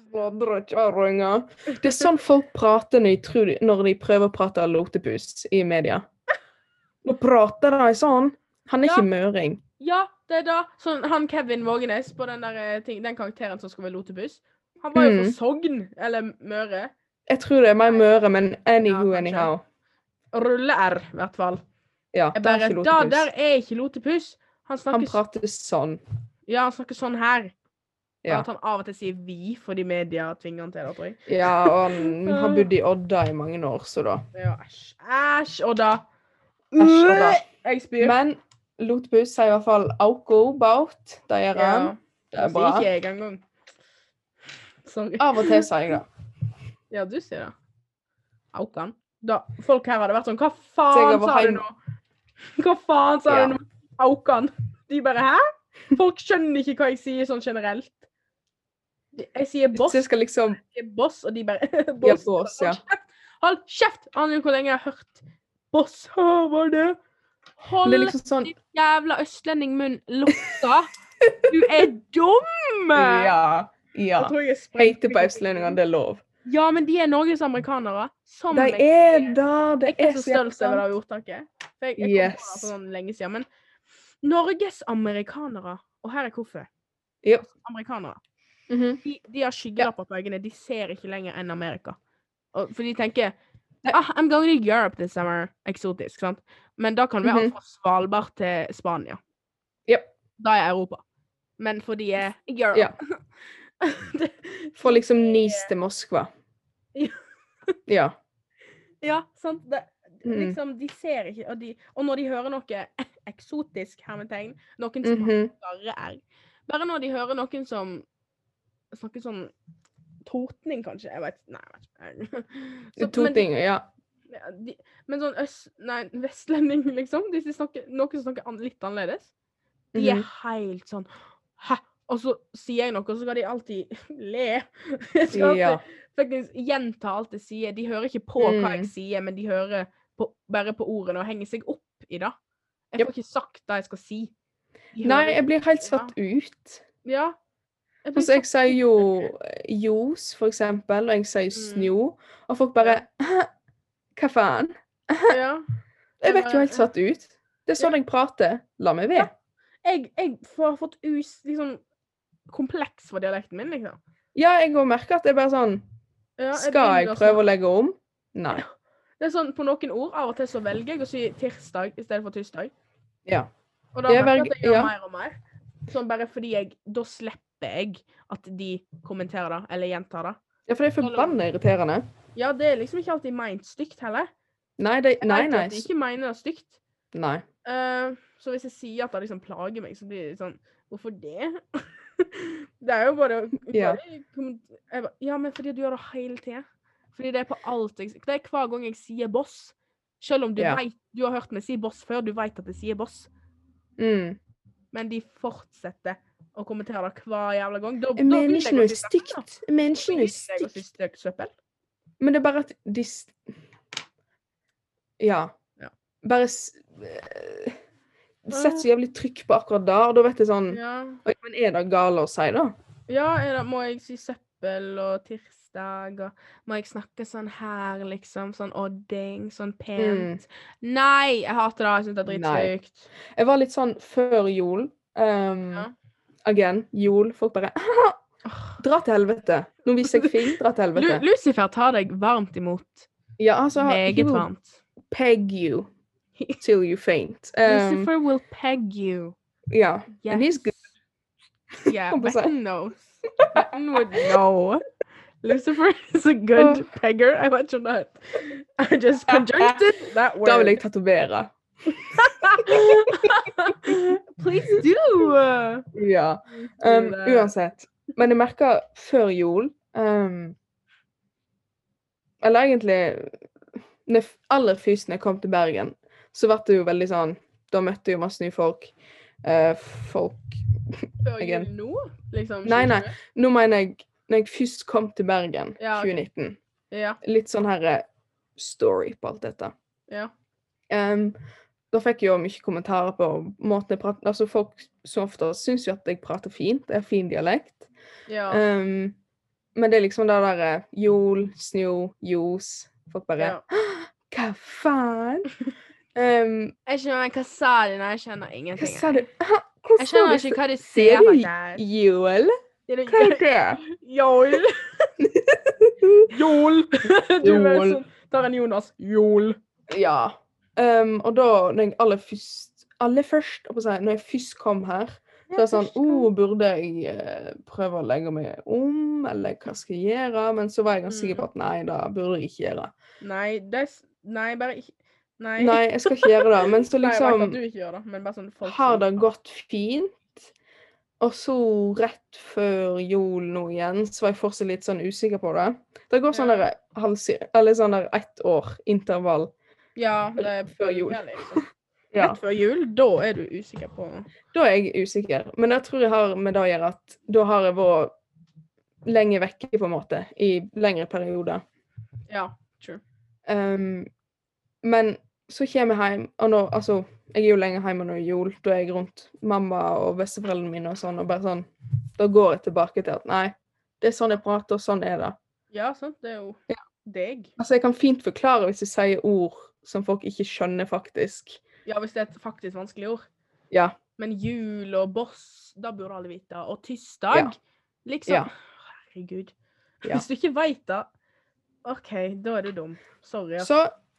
[SPEAKER 2] Sladre kjerringer. Det er sånn folk prater når de, tror de, når de prøver å prate lotepus i
[SPEAKER 1] [LAUGHS]
[SPEAKER 2] media. Nå prater de sånn. Han er
[SPEAKER 1] Ja.
[SPEAKER 2] ikke møring.
[SPEAKER 1] Ja, det er da sånn, Han Kevin Vågenes på den, der, eh, ting, den karakteren som skal være lotepus, han var jo fra
[SPEAKER 2] Mm.
[SPEAKER 1] Sogn, eller Møre.
[SPEAKER 2] Jeg tror det er mer møre, men anywho,
[SPEAKER 1] Ja, kanskje.
[SPEAKER 2] anyhow.
[SPEAKER 1] Rulle-R, i hvert fall.
[SPEAKER 2] Ja,
[SPEAKER 1] Jeg
[SPEAKER 2] det er
[SPEAKER 1] bare,
[SPEAKER 2] ikke
[SPEAKER 1] da der
[SPEAKER 2] lotepus.
[SPEAKER 1] er ikke lotepus. Han
[SPEAKER 2] Han
[SPEAKER 1] snakker, s-
[SPEAKER 2] prater sånn.
[SPEAKER 1] ja, han snakker sånn her. Og
[SPEAKER 2] Ja.
[SPEAKER 1] At han av og til sier 'vi' fordi media tvinger han til det, tror jeg.
[SPEAKER 2] ja,
[SPEAKER 1] [LAUGHS]
[SPEAKER 2] og han har bodd i Odda i mange år, så da.
[SPEAKER 1] Ja, æsj. Æsj, Odda.
[SPEAKER 2] Æsj, Odda.
[SPEAKER 1] Jeg spyr.
[SPEAKER 2] Men lotepus sier i hvert fall 'auko bout'. Det gjør
[SPEAKER 1] Ja.
[SPEAKER 2] han. Det er
[SPEAKER 1] Det
[SPEAKER 2] bra. Ah.
[SPEAKER 1] sier ikke jeg engang. Sorry.
[SPEAKER 2] Av og til sier jeg det.
[SPEAKER 1] Ja, du sier det. Aukan. Da, folk her hadde vært sånn Hva
[SPEAKER 2] Så jeg
[SPEAKER 1] faen
[SPEAKER 2] var
[SPEAKER 1] sa du
[SPEAKER 2] heim-
[SPEAKER 1] nå? [LAUGHS] Hva faen sa
[SPEAKER 2] Ja.
[SPEAKER 1] du nå? Aukan. De bare Hæ? Folk skjønner ikke hva jeg sier sånn generelt. De- Jeg sier [LAUGHS] boss,
[SPEAKER 2] Så jeg skal liksom
[SPEAKER 1] jeg sier boss, og de bare [LAUGHS]
[SPEAKER 2] Ja,
[SPEAKER 1] Boss.
[SPEAKER 2] bås, ja.
[SPEAKER 1] Hold kjeft! Hold kjeft! Aner du hvor lenge jeg har hørt boss? Hva var det?
[SPEAKER 2] Men
[SPEAKER 1] Hold
[SPEAKER 2] det er liksom sånn
[SPEAKER 1] din jævla østlendingmunn
[SPEAKER 2] [LAUGHS]
[SPEAKER 1] lukka! Du er dum!
[SPEAKER 2] Ja. Ja.
[SPEAKER 1] Jeg tror jeg
[SPEAKER 2] Hate
[SPEAKER 1] sprengte
[SPEAKER 2] på østlendingene, det er lov.
[SPEAKER 1] Ja, men de er Norges amerikanere. Som
[SPEAKER 2] De
[SPEAKER 1] meg.
[SPEAKER 2] er det! Det
[SPEAKER 1] Jeg er
[SPEAKER 2] er
[SPEAKER 1] så
[SPEAKER 2] så jævla
[SPEAKER 1] stolt over det
[SPEAKER 2] sant.
[SPEAKER 1] ordtaket. For jeg, jeg kom på det
[SPEAKER 2] Yes.
[SPEAKER 1] for sånn lenge siden. Men Norges amerikanere, og her er hvorfor
[SPEAKER 2] Yep.
[SPEAKER 1] Amerikanere.
[SPEAKER 2] Mhm.
[SPEAKER 1] De, de har skyggelapper på øynene. De ser ikke lenger enn Amerika. Og, for de tenker
[SPEAKER 2] Nei.
[SPEAKER 1] ah, I'm going to Europe this summer. Eksotisk, sant? Men da kan det være alt fra Svalbard til Spania.
[SPEAKER 2] Jep.
[SPEAKER 1] Da er Europa. Men for de er Europe.
[SPEAKER 2] Ja.
[SPEAKER 1] [LAUGHS] det,
[SPEAKER 2] Fra liksom Nis til Moskva.
[SPEAKER 1] Ja. [LAUGHS]
[SPEAKER 2] Ja.
[SPEAKER 1] ja, sant? Det,
[SPEAKER 2] Mm.
[SPEAKER 1] Liksom, de ser ikke, og, de, og når de hører noe [LAUGHS] eksotisk hermetegn, noen som har
[SPEAKER 2] Mhm.
[SPEAKER 1] skarre r Bare når de hører noen som snakker sånn totning, kanskje. Jeg vet, nei, jeg vet ikke. [LAUGHS] Så-
[SPEAKER 2] To
[SPEAKER 1] men de-
[SPEAKER 2] ting, ja.
[SPEAKER 1] ja, de, men sånn øst... Nei, vestlending, liksom. De som snakker, noen som snakker an, litt annerledes. De er
[SPEAKER 2] Mhm.
[SPEAKER 1] helt sånn Hæ? Og så sier jeg noe, og så skal de alltid [LAUGHS] le. Jeg skal alltid
[SPEAKER 2] Ja.
[SPEAKER 1] faktisk gjenta alt jeg sier. De hører ikke på hva
[SPEAKER 2] Mm.
[SPEAKER 1] jeg sier, men de hører på, bare på ordene og henger seg opp i det. Jeg
[SPEAKER 2] Japp.
[SPEAKER 1] får ikke sagt det jeg skal si. De
[SPEAKER 2] Nei,
[SPEAKER 1] hører-
[SPEAKER 2] jeg blir helt satt ut.
[SPEAKER 1] Ja. Jeg blir
[SPEAKER 2] Altså, jeg
[SPEAKER 1] satt
[SPEAKER 2] sier
[SPEAKER 1] ut.
[SPEAKER 2] jo ljos, for eksempel, og jeg sier
[SPEAKER 1] Mm.
[SPEAKER 2] snjo, og folk bare Hva faen?
[SPEAKER 1] [LAUGHS] ja.
[SPEAKER 2] Jeg blir jo
[SPEAKER 1] Eller-
[SPEAKER 2] helt satt ut. Det er sånn jeg prater. La meg være.
[SPEAKER 1] Jeg, jeg får fått us, liksom, kompleks for dialekten min, liksom.
[SPEAKER 2] Ja, jeg òg merker at det er bare sånn
[SPEAKER 1] Ja,
[SPEAKER 2] Skal jeg
[SPEAKER 1] begynner å
[SPEAKER 2] prøve å legge om? Nei.
[SPEAKER 1] Det er sånn, På noen ord av og til så velger jeg å si tirsdag i stedet for tirsdag.
[SPEAKER 2] Ja.
[SPEAKER 1] Og da
[SPEAKER 2] Jeg
[SPEAKER 1] merker jeg at
[SPEAKER 2] velger-
[SPEAKER 1] jeg gjør
[SPEAKER 2] ja.
[SPEAKER 1] mer og mer. Sånn bare fordi jeg Da slipper jeg at de kommenterer det, eller gjentar det.
[SPEAKER 2] Ja, for det er forbanna irriterende.
[SPEAKER 1] Ja, det er liksom ikke alltid meint stygt heller.
[SPEAKER 2] Nei, det,
[SPEAKER 1] Jeg
[SPEAKER 2] nei,
[SPEAKER 1] vet jo
[SPEAKER 2] nei.
[SPEAKER 1] at de ikke mener det stygt.
[SPEAKER 2] nei.
[SPEAKER 1] Eh, så hvis jeg sier at det liksom plager meg, så blir det litt sånn Hvorfor det? [LAUGHS] det er jo bare å-
[SPEAKER 2] Ja.
[SPEAKER 1] bare komment- jeg ba, Ja, men fordi du gjør det hele tida. Fordi det er på alt jeg Det er hver gang jeg sier boss. Selv om du
[SPEAKER 2] Ja.
[SPEAKER 1] vet, du har hørt meg si boss før, du vet at jeg sier boss,
[SPEAKER 2] Mm.
[SPEAKER 1] men de fortsetter å kommentere det hver jævla gang. Da, da vil jeg
[SPEAKER 2] Menneskene
[SPEAKER 1] gå
[SPEAKER 2] er
[SPEAKER 1] til søppel, da.
[SPEAKER 2] stygt.
[SPEAKER 1] Da
[SPEAKER 2] Menneskene
[SPEAKER 1] vil
[SPEAKER 2] er
[SPEAKER 1] jeg gå til
[SPEAKER 2] stygt.
[SPEAKER 1] søppel- søppel.
[SPEAKER 2] Men det er bare at de s- Ja.
[SPEAKER 1] Ja.
[SPEAKER 2] Bare s- eh, Sett så jævlig trykk på akkurat der, og da vet jeg sånn
[SPEAKER 1] Ja.
[SPEAKER 2] Oi, men er det gale å si, da?
[SPEAKER 1] Ja, er det, må jeg si søppel og tirsdag, og må jeg snakke sånn her, liksom? Sånn odding, sånn pent. Nei, jeg hater det. Jeg syns det er
[SPEAKER 2] Mm. Nei.
[SPEAKER 1] dritstygt.
[SPEAKER 2] Jeg var litt sånn før jul. Um,
[SPEAKER 1] Ja.
[SPEAKER 2] Again, jul. Folk bare
[SPEAKER 1] Åh.
[SPEAKER 2] Dra til helvete. Nå viser jeg film. Dra til
[SPEAKER 1] Lu [LAUGHS]
[SPEAKER 2] helvete.
[SPEAKER 1] Lucifer tar deg varmt imot.
[SPEAKER 2] Ja, altså
[SPEAKER 1] Meget
[SPEAKER 2] you
[SPEAKER 1] varmt.
[SPEAKER 2] Peg you till
[SPEAKER 1] [LAUGHS]
[SPEAKER 2] you faint. Um,
[SPEAKER 1] Lucifer will peg you.
[SPEAKER 2] ja.
[SPEAKER 1] Yes.
[SPEAKER 2] And he's good.
[SPEAKER 1] [LAUGHS] Yeah,
[SPEAKER 2] Kom på seg.
[SPEAKER 1] Betten knows. [LAUGHS] Betten would know. Lucifer [LAUGHS] is a
[SPEAKER 2] Oh.
[SPEAKER 1] good pegger. I vet ikke om det er I
[SPEAKER 2] [LAUGHS]
[SPEAKER 1] just conjuncted that word.
[SPEAKER 2] Da vil jeg tatovere.
[SPEAKER 1] Please [LAUGHS] do.
[SPEAKER 2] Ja. Um,
[SPEAKER 1] eh,
[SPEAKER 2] uansett. Men jeg merker før jul um, Eller egentlig når f- Aller først når jeg kom til Bergen, så ble det jo veldig sånn Da møtte jeg jo masse nye folk. Eh, folk
[SPEAKER 1] Før
[SPEAKER 2] Again.
[SPEAKER 1] jul nå, liksom?
[SPEAKER 2] Nei, nei.
[SPEAKER 1] 2020?
[SPEAKER 2] Nå mener jeg når jeg først kom til Bergen
[SPEAKER 1] Ja, ok.
[SPEAKER 2] 2019.
[SPEAKER 1] Ja.
[SPEAKER 2] Litt sånn her eh, story på alt dette.
[SPEAKER 1] ja.
[SPEAKER 2] Em, da fikk jeg jo mye kommentarer på måten jeg prater Altså, folk som ofte syns jo at jeg prater fint, jeg har fin dialekt.
[SPEAKER 1] ja.
[SPEAKER 2] Um, men det er liksom det derre jol, snø, ljos Folk bare
[SPEAKER 1] ja.
[SPEAKER 2] Hva
[SPEAKER 1] [LAUGHS]
[SPEAKER 2] faen? Um,
[SPEAKER 1] Jeg skjønner hva sa de? Nei, jeg skjønner
[SPEAKER 2] hva
[SPEAKER 1] ingenting.
[SPEAKER 2] sa du?
[SPEAKER 1] Jeg skjønner ikke hva de
[SPEAKER 2] Ser
[SPEAKER 1] ser
[SPEAKER 2] du
[SPEAKER 1] på der.
[SPEAKER 2] Jol?
[SPEAKER 1] Ser
[SPEAKER 2] Hva er
[SPEAKER 1] [LAUGHS] du-
[SPEAKER 2] det? [LAUGHS]
[SPEAKER 1] Jol. Jol. [LAUGHS] Du er
[SPEAKER 2] Jol.
[SPEAKER 1] sånn Tar en Jonas. Jol.
[SPEAKER 2] Ja. Um, og da, når jeg aller først Aller først, holdt på å si, når jeg først kom her, så er det sånn oh, Burde jeg eh, prøve å legge meg om, eller hva skal jeg gjøre? Men så var jeg ganske
[SPEAKER 1] Mm.
[SPEAKER 2] sikker på at nei, det burde jeg ikke gjøre.
[SPEAKER 1] Nei, det er s- Nei, bare ikke Nei.
[SPEAKER 2] Nei, jeg skal ikke gjøre det. Men så
[SPEAKER 1] Nei, jeg vet at
[SPEAKER 2] liksom
[SPEAKER 1] du ikke gjør det, men bare sånn folk
[SPEAKER 2] har
[SPEAKER 1] som-
[SPEAKER 2] det gått fint. Og så rett før jul nå igjen, så var jeg fortsatt litt sånn usikker på det. Det går sånn
[SPEAKER 1] Ja.
[SPEAKER 2] der, halvsir- eller sånn der ett år intervall.
[SPEAKER 1] Ja, det er
[SPEAKER 2] Før jul.
[SPEAKER 1] Ja, liksom.
[SPEAKER 2] [LAUGHS] Ja.
[SPEAKER 1] Rett før jul, da er du usikker på
[SPEAKER 2] Da er jeg usikker. Men jeg tror jeg har med det å gjøre at da har jeg vært lenge vekke, på en måte, i lengre perioder.
[SPEAKER 1] Ja, true.
[SPEAKER 2] Um, men så kommer jeg hjem, og nå, altså, jeg er jo lenge hjemme nå i jul, da er jeg rundt mamma og besteforeldrene mine og sånn, og bare sånn, da går jeg tilbake til at nei, det er sånn jeg prater, og sånn er det.
[SPEAKER 1] Ja, sant, det er jo deg.
[SPEAKER 2] Altså, jeg kan fint forklare hvis jeg sier ord som folk ikke skjønner faktisk.
[SPEAKER 1] Ja, hvis det er et faktisk vanskelig ord.
[SPEAKER 2] Ja.
[SPEAKER 1] Men jul og boss, da burde alle vite. Og tirsdag,
[SPEAKER 2] Ja.
[SPEAKER 1] liksom.
[SPEAKER 2] Ja.
[SPEAKER 1] Herregud.
[SPEAKER 2] Ja.
[SPEAKER 1] Hvis du ikke veit det, OK, da er du dum. Sorry. altså. ass.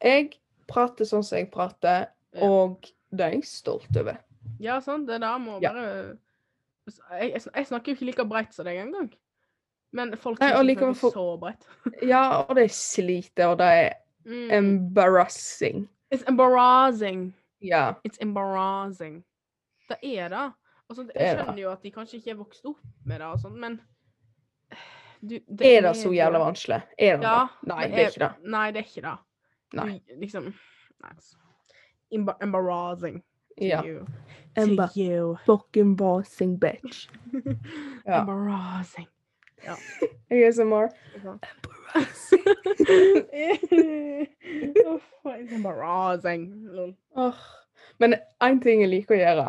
[SPEAKER 2] Så jeg prater sånn som jeg prater,
[SPEAKER 1] Ja.
[SPEAKER 2] og det er jeg stolt over.
[SPEAKER 1] Ja, sant, det der må
[SPEAKER 2] Ja.
[SPEAKER 1] bare Altså, jeg, jeg, sn- jeg snakker jo ikke like breit som deg engang. Men folk
[SPEAKER 2] Nei,
[SPEAKER 1] synes
[SPEAKER 2] og
[SPEAKER 1] jeg
[SPEAKER 2] likevel
[SPEAKER 1] snakker
[SPEAKER 2] folk-
[SPEAKER 1] så breit.
[SPEAKER 2] Ja, og det sliter, og det er
[SPEAKER 1] Mm.
[SPEAKER 2] embarrassing.
[SPEAKER 1] It's embarrassing.
[SPEAKER 2] Ja,
[SPEAKER 1] It's embarrassing. Det er det. Og sånt,
[SPEAKER 2] er
[SPEAKER 1] jeg
[SPEAKER 2] det.
[SPEAKER 1] skjønner jo at de kanskje ikke er vokst opp med det, og sånt, men du,
[SPEAKER 2] er det så jævla
[SPEAKER 1] jo-
[SPEAKER 2] vanskelig? Er det
[SPEAKER 1] Ja,
[SPEAKER 2] det? Nei, det er ikke det.
[SPEAKER 1] Nei, det er ikke det.
[SPEAKER 2] Nei.
[SPEAKER 1] Du, liksom Nei, altså. Emba- Embarrassing to
[SPEAKER 2] Ja.
[SPEAKER 1] you.
[SPEAKER 2] Emma.
[SPEAKER 1] To you.
[SPEAKER 2] Fucking bossing bitch. Ja.
[SPEAKER 1] Embarrassing.
[SPEAKER 2] ASMR.
[SPEAKER 1] [LAUGHS] Uff, Embarrassing. Lol.
[SPEAKER 2] Åh. Men én ting jeg liker å gjøre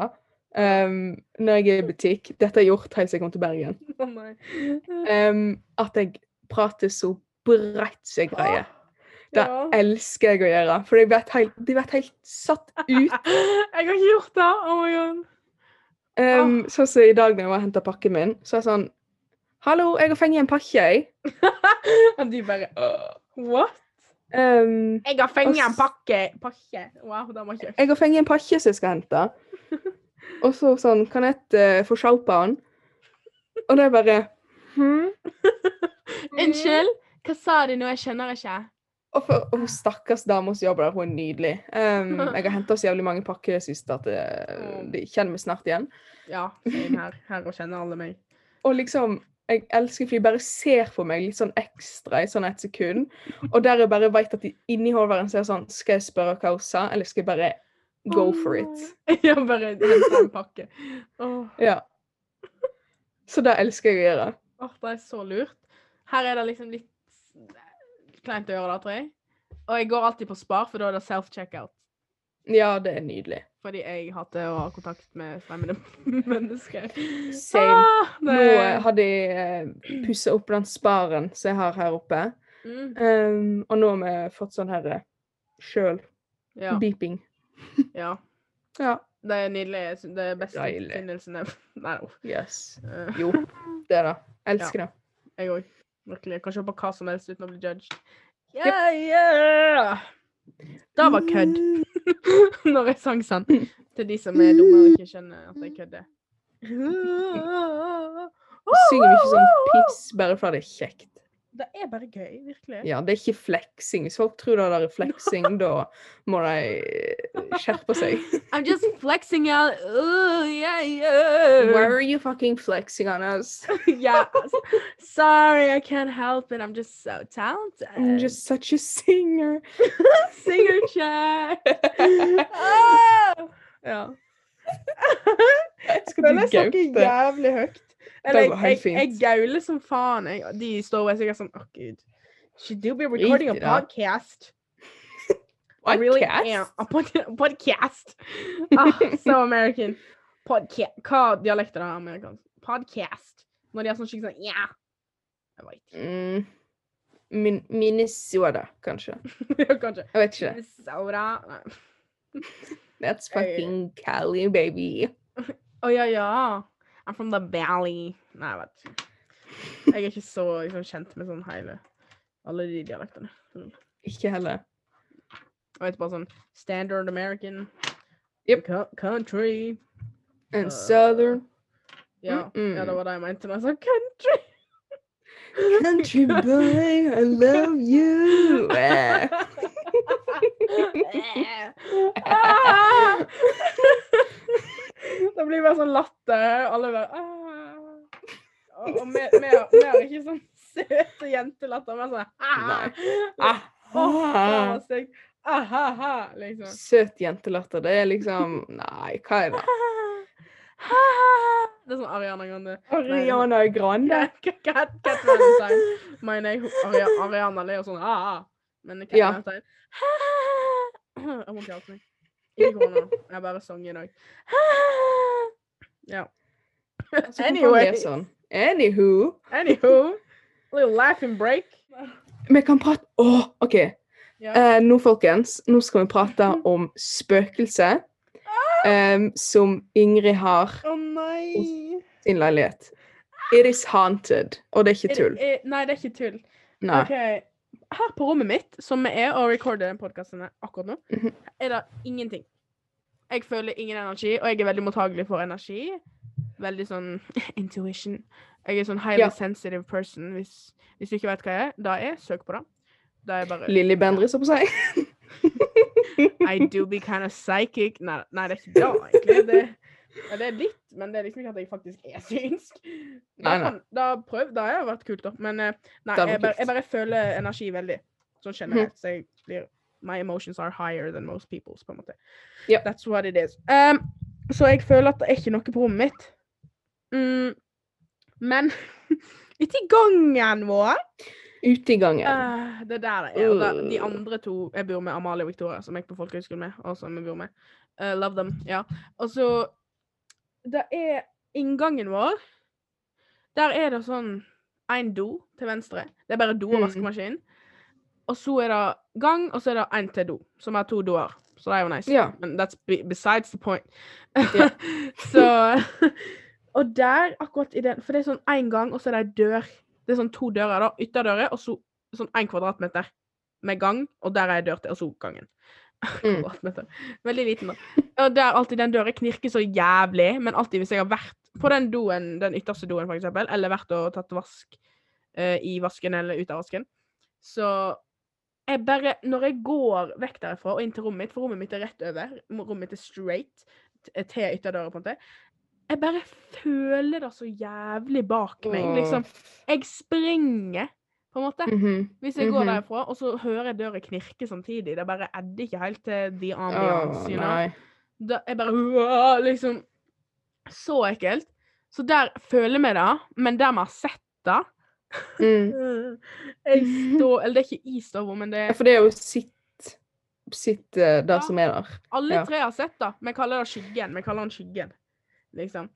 [SPEAKER 2] ehm, når jeg er i butikk Dette har jeg gjort helt siden jeg kom til Bergen.
[SPEAKER 1] Å nei.
[SPEAKER 2] ehm, at jeg prater så bredt som jeg greier. Det
[SPEAKER 1] Ja.
[SPEAKER 2] elsker jeg å gjøre. For jeg vet helt, de vet helt satt [LAUGHS] ut.
[SPEAKER 1] Jeg har ikke gjort det! Oh my god.
[SPEAKER 2] Ehm, Sånn som i dag når jeg var og henta pakken min, så er jeg sånn Hallo, jeg har fengt en pakke, jeg.
[SPEAKER 1] Og de bare «Åh, What?
[SPEAKER 2] Ehm,
[SPEAKER 1] Jeg har fengt en
[SPEAKER 2] Ass.
[SPEAKER 1] pakke. pakke. Wow, det var kjekt.
[SPEAKER 2] jeg har fengt en pakke som jeg skal hente. Og så sånn Kan jeg eh, få se på den? Og det er bare «Hm?»
[SPEAKER 1] [LAUGHS] Unnskyld? Hva sa de nå? Jeg skjønner ikke.
[SPEAKER 2] Og, for, og hun stakkars dama som jobber der, hun er nydelig. Ehm, jeg har henta så jævlig mange pakker i det siste at eh, de kjenner meg snart igjen.
[SPEAKER 1] Ja, same her. Her og kjenner alle meg.
[SPEAKER 2] Og liksom Jeg elsker for de bare ser på meg litt sånn ekstra i sånn et sekund. Og der jeg bare veit at de inni hodet deres er sånn Skal jeg spørre hva hun sa, eller skal jeg bare go
[SPEAKER 1] Åh.
[SPEAKER 2] for it?
[SPEAKER 1] [LAUGHS] Ja, bare hente en pakke. Åh,
[SPEAKER 2] Ja. Så det elsker jeg å gjøre.
[SPEAKER 1] åh, det er så lurt. Her er det liksom litt kleint å gjøre det, tror jeg. Og jeg går alltid på spar, for da er det self-checkout.
[SPEAKER 2] Ja, det er nydelig.
[SPEAKER 1] Fordi jeg hater å ha kontakt med fremmede [LAUGHS] mennesker.
[SPEAKER 2] Same.
[SPEAKER 1] Ah,
[SPEAKER 2] Nå
[SPEAKER 1] det-
[SPEAKER 2] eh, har de uh, pussa opp den sparen som jeg har her oppe.
[SPEAKER 1] Mm,
[SPEAKER 2] Ehm, og nå har vi fått sånn her eh, sjøl
[SPEAKER 1] ja,
[SPEAKER 2] beeping.
[SPEAKER 1] ja.
[SPEAKER 2] Ja.
[SPEAKER 1] Det er nydelig. Jeg syns Det er beste
[SPEAKER 2] Deilig.
[SPEAKER 1] oppfinnelsen jeg [LAUGHS] Nei, uff.
[SPEAKER 2] Yes.
[SPEAKER 1] Eh,
[SPEAKER 2] Jo, det er det. Elsker det.
[SPEAKER 1] Jeg òg. Virkelig. Jeg kan se på hva som helst uten å bli judged.
[SPEAKER 2] Yep.
[SPEAKER 1] Yeah, yeah! Det var kødd
[SPEAKER 2] Mm.
[SPEAKER 1] [LAUGHS] når jeg sang sånn. Til de som er dumme og ikke skjønner at jeg kødder. Mm. [LAUGHS]
[SPEAKER 2] Synger vi ikke sånn piss bare fordi det er kjekt.
[SPEAKER 1] Det er bare gøy, virkelig.
[SPEAKER 2] Ja, det er ikke fleksing. Hvis folk tror det er [LAUGHS] fleksing, da må de eh, skjerpe seg.
[SPEAKER 1] I'm just flexing out. Ooh, yeah, yeah.
[SPEAKER 2] Where are you fucking flexing on us?
[SPEAKER 1] [LAUGHS] yeah. Sorry, I can't help it. I'm just so talented.
[SPEAKER 2] I'm just such a singer. [LAUGHS]
[SPEAKER 1] singer [LAUGHS] chat.
[SPEAKER 2] Ah.
[SPEAKER 1] Oh! ja.
[SPEAKER 2] Skal du gaupe?
[SPEAKER 1] jævlig høyt.
[SPEAKER 2] Det
[SPEAKER 1] Eller
[SPEAKER 2] går
[SPEAKER 1] jeg,
[SPEAKER 2] helt
[SPEAKER 1] jeg,
[SPEAKER 2] fint.
[SPEAKER 1] jeg gauler som faen. Jeg, og de står og er sikkert sånn Å, gud. She do be recording a
[SPEAKER 2] Drit i det.
[SPEAKER 1] podcast. I
[SPEAKER 2] What
[SPEAKER 1] really
[SPEAKER 2] cats?
[SPEAKER 1] am. A pod [LAUGHS] podcast. Ah, so American. Podca Hva dialekt er det amerikansk? Podcast. Når de er sånn skikkelig sånn Ja. Jeg vet ikke. [LAUGHS]
[SPEAKER 2] Mm. Min Minnesota, kanskje.
[SPEAKER 1] Ja, Kanskje.
[SPEAKER 2] Jeg vet ikke.
[SPEAKER 1] Minnesota. Nei.
[SPEAKER 2] That's
[SPEAKER 1] Jeg-
[SPEAKER 2] fucking Cali, baby.
[SPEAKER 1] Å ja, ja. I'm from the valley. Nei, jeg vet ikke. Jeg er ikke så liksom, kjent med sånn hele alle de dialektene.
[SPEAKER 2] Ikke heller.
[SPEAKER 1] Jeg vet bare sånn standard American
[SPEAKER 2] Yep.
[SPEAKER 1] co- country.
[SPEAKER 2] And
[SPEAKER 1] Uh,
[SPEAKER 2] southern
[SPEAKER 1] Ja. ja,
[SPEAKER 2] Mm-mm.
[SPEAKER 1] det var det jeg mente når jeg sa country.
[SPEAKER 2] Country boy, I love
[SPEAKER 1] [LAUGHS]
[SPEAKER 2] you. Eh.
[SPEAKER 1] Ah! det blir bare sånn latter. og Alle bare ah. Og og vi vi har vi har ikke sånn søte jentelatter, men sånn ah.
[SPEAKER 2] Ah,
[SPEAKER 1] Åh,
[SPEAKER 2] ah.
[SPEAKER 1] steg. Ahaha, liksom.
[SPEAKER 2] Søt jentelatter. Det er liksom Nei, hva er det?
[SPEAKER 1] Det er sånn Ariana Grande.
[SPEAKER 2] Ariana Grande?
[SPEAKER 1] Cat, Cat- Cat, Cat Valentine. Mener jeg hun- Aria, Ariana ler sånn ah. Men Cat
[SPEAKER 2] Ja.
[SPEAKER 1] Valentine Jeg må ikke hjelpe meg. Ikke korona. Jeg har bare sang i dag. Ja.
[SPEAKER 2] Så kan man le sånn. Anywho.
[SPEAKER 1] Anywho. Little laughing break.
[SPEAKER 2] Vi kan prate Å, OK.
[SPEAKER 1] Ja.
[SPEAKER 2] Eh, nå, folkens, nå skal vi prate
[SPEAKER 1] Mhm.
[SPEAKER 2] om spøkelse em, som Ingrid har
[SPEAKER 1] Å nei.
[SPEAKER 2] i sin leilighet. It is haunted. Og det er ikke tull.
[SPEAKER 1] Er det- er- Nei, det er ikke tull.
[SPEAKER 2] Nei.
[SPEAKER 1] Ok, Her på rommet mitt, som vi er og recorder den podkasten akkurat nå,
[SPEAKER 2] Mhm.
[SPEAKER 1] er det ingenting. Jeg føler ingen energi, og jeg er veldig mottagelig for energi. Veldig sånn [LAUGHS] intuition. Jeg er sånn highly
[SPEAKER 2] Ja.
[SPEAKER 1] sensitive person. Hvis, hvis du ikke vet hva jeg er, da er jeg, søk på det. Da er jeg bare
[SPEAKER 2] Lilly Bendriss, holdt jeg på å si.
[SPEAKER 1] I do be kind of psychic. Nei, nei, det er ikke det, egentlig. Det, ja, det er litt, men det er liksom ikke at jeg faktisk er synsk. Da,
[SPEAKER 2] Nei, nei.
[SPEAKER 1] kan, da, prøv, da har jeg vært kult, da. Men eh, nei,
[SPEAKER 2] Det hadde
[SPEAKER 1] jeg
[SPEAKER 2] vært
[SPEAKER 1] bare,
[SPEAKER 2] kult. Mhm.
[SPEAKER 1] jeg bare føler energi veldig. Sånn generelt. Så jeg blir My emotions are higher than most people's, på en måte.
[SPEAKER 2] Ja.
[SPEAKER 1] That's what it is. Um, Så jeg føler at det er ikke noe på rommet mitt. Mm, men [LAUGHS] ute i gangen vår
[SPEAKER 2] Ute i gangen.
[SPEAKER 1] eh, Det er der det er. Og da- de andre to jeg bor med, Amalie og Victoria, som jeg gikk på folkehøyskolen med, og som jeg bor med. Eh, love them. Ja. Og så Det er inngangen vår. Der er det sånn én do til venstre. Det er bare do og
[SPEAKER 2] Mm.
[SPEAKER 1] vaskemaskin. Og så er det gang, og så er det én til do, som er to doer. Så det er jo nice.
[SPEAKER 2] Ja.
[SPEAKER 1] Men that's be besides the point.
[SPEAKER 2] Ja.
[SPEAKER 1] [LAUGHS] så [LAUGHS] Og der, akkurat i den For det er sånn én gang, og så er det ei dør. Det er sånn to dører, da. Ytterdører, og så sånn én kvadratmeter med gang, og der er ei dør til, og så gangen.
[SPEAKER 2] Mm.
[SPEAKER 1] [LAUGHS] Kvadratmeter. Veldig liten, da. Og der alltid den døra knirker så jævlig, men alltid hvis jeg har vært på den doen, den ytterste doen, for eksempel, eller vært og tatt vask eh, i vasken eller ut av vasken, så jeg bare, når jeg går vekk derifra og inn til rommet mitt, for rommet mitt er rett over, rommet mitt er straight t- til ytterdøra, på en måte, jeg bare føler det så jævlig bak meg. Liksom, jeg springer, på en måte,
[SPEAKER 2] Mhm.
[SPEAKER 1] hvis jeg går
[SPEAKER 2] Mhm.
[SPEAKER 1] derifra, og så hører jeg døra knirke samtidig. Det bare adder ikke helt til the ambiance,
[SPEAKER 2] Åh,
[SPEAKER 1] you know.
[SPEAKER 2] nei.
[SPEAKER 1] Da, jeg bare «Uah», liksom Så ekkelt. Så der føler vi det, men der vi har sett
[SPEAKER 2] [LAUGHS]
[SPEAKER 1] det
[SPEAKER 2] Mm.
[SPEAKER 1] Jeg står Eller det er ikke i stua, men det
[SPEAKER 2] Ja,
[SPEAKER 1] er
[SPEAKER 2] For det er jo sitt, sitt eh, der
[SPEAKER 1] Ja.
[SPEAKER 2] som er der.
[SPEAKER 1] Alle
[SPEAKER 2] Ja.
[SPEAKER 1] tre har sett det. Vi kaller det skyggen. Vi kaller han skyggen, liksom.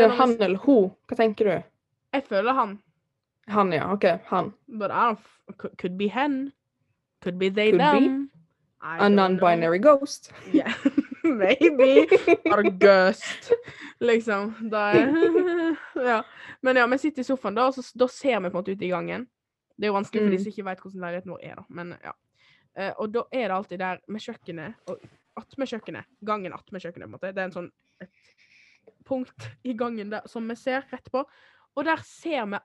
[SPEAKER 1] Ja, men
[SPEAKER 2] det han
[SPEAKER 1] hvis-
[SPEAKER 2] eller hun? Hva tenker du?
[SPEAKER 1] Jeg føler han
[SPEAKER 2] Han, ja. OK, han.
[SPEAKER 1] But I don't f could- Could be hen. Could be they,
[SPEAKER 2] Could be.
[SPEAKER 1] them. I
[SPEAKER 2] A
[SPEAKER 1] don't know.
[SPEAKER 2] non-binary ghost.
[SPEAKER 1] [LAUGHS] Yeah. Maybe. August. [LAUGHS] Liksom. Da er [LAUGHS] ja. Men ja, vi sitter i sofaen da, og så, s- da ser vi på en måte ut i gangen. Det er jo vanskelig for de
[SPEAKER 2] Mm.
[SPEAKER 1] som ikke vet hvordan leiligheten vår er, da. Men ja. Eh, og da er det alltid der med kjøkkenet og attmed kjøkkenet. Gangen attmed kjøkkenet, på en måte. Det er en sånn et punkt i gangen der, som vi ser rett på. Og der ser vi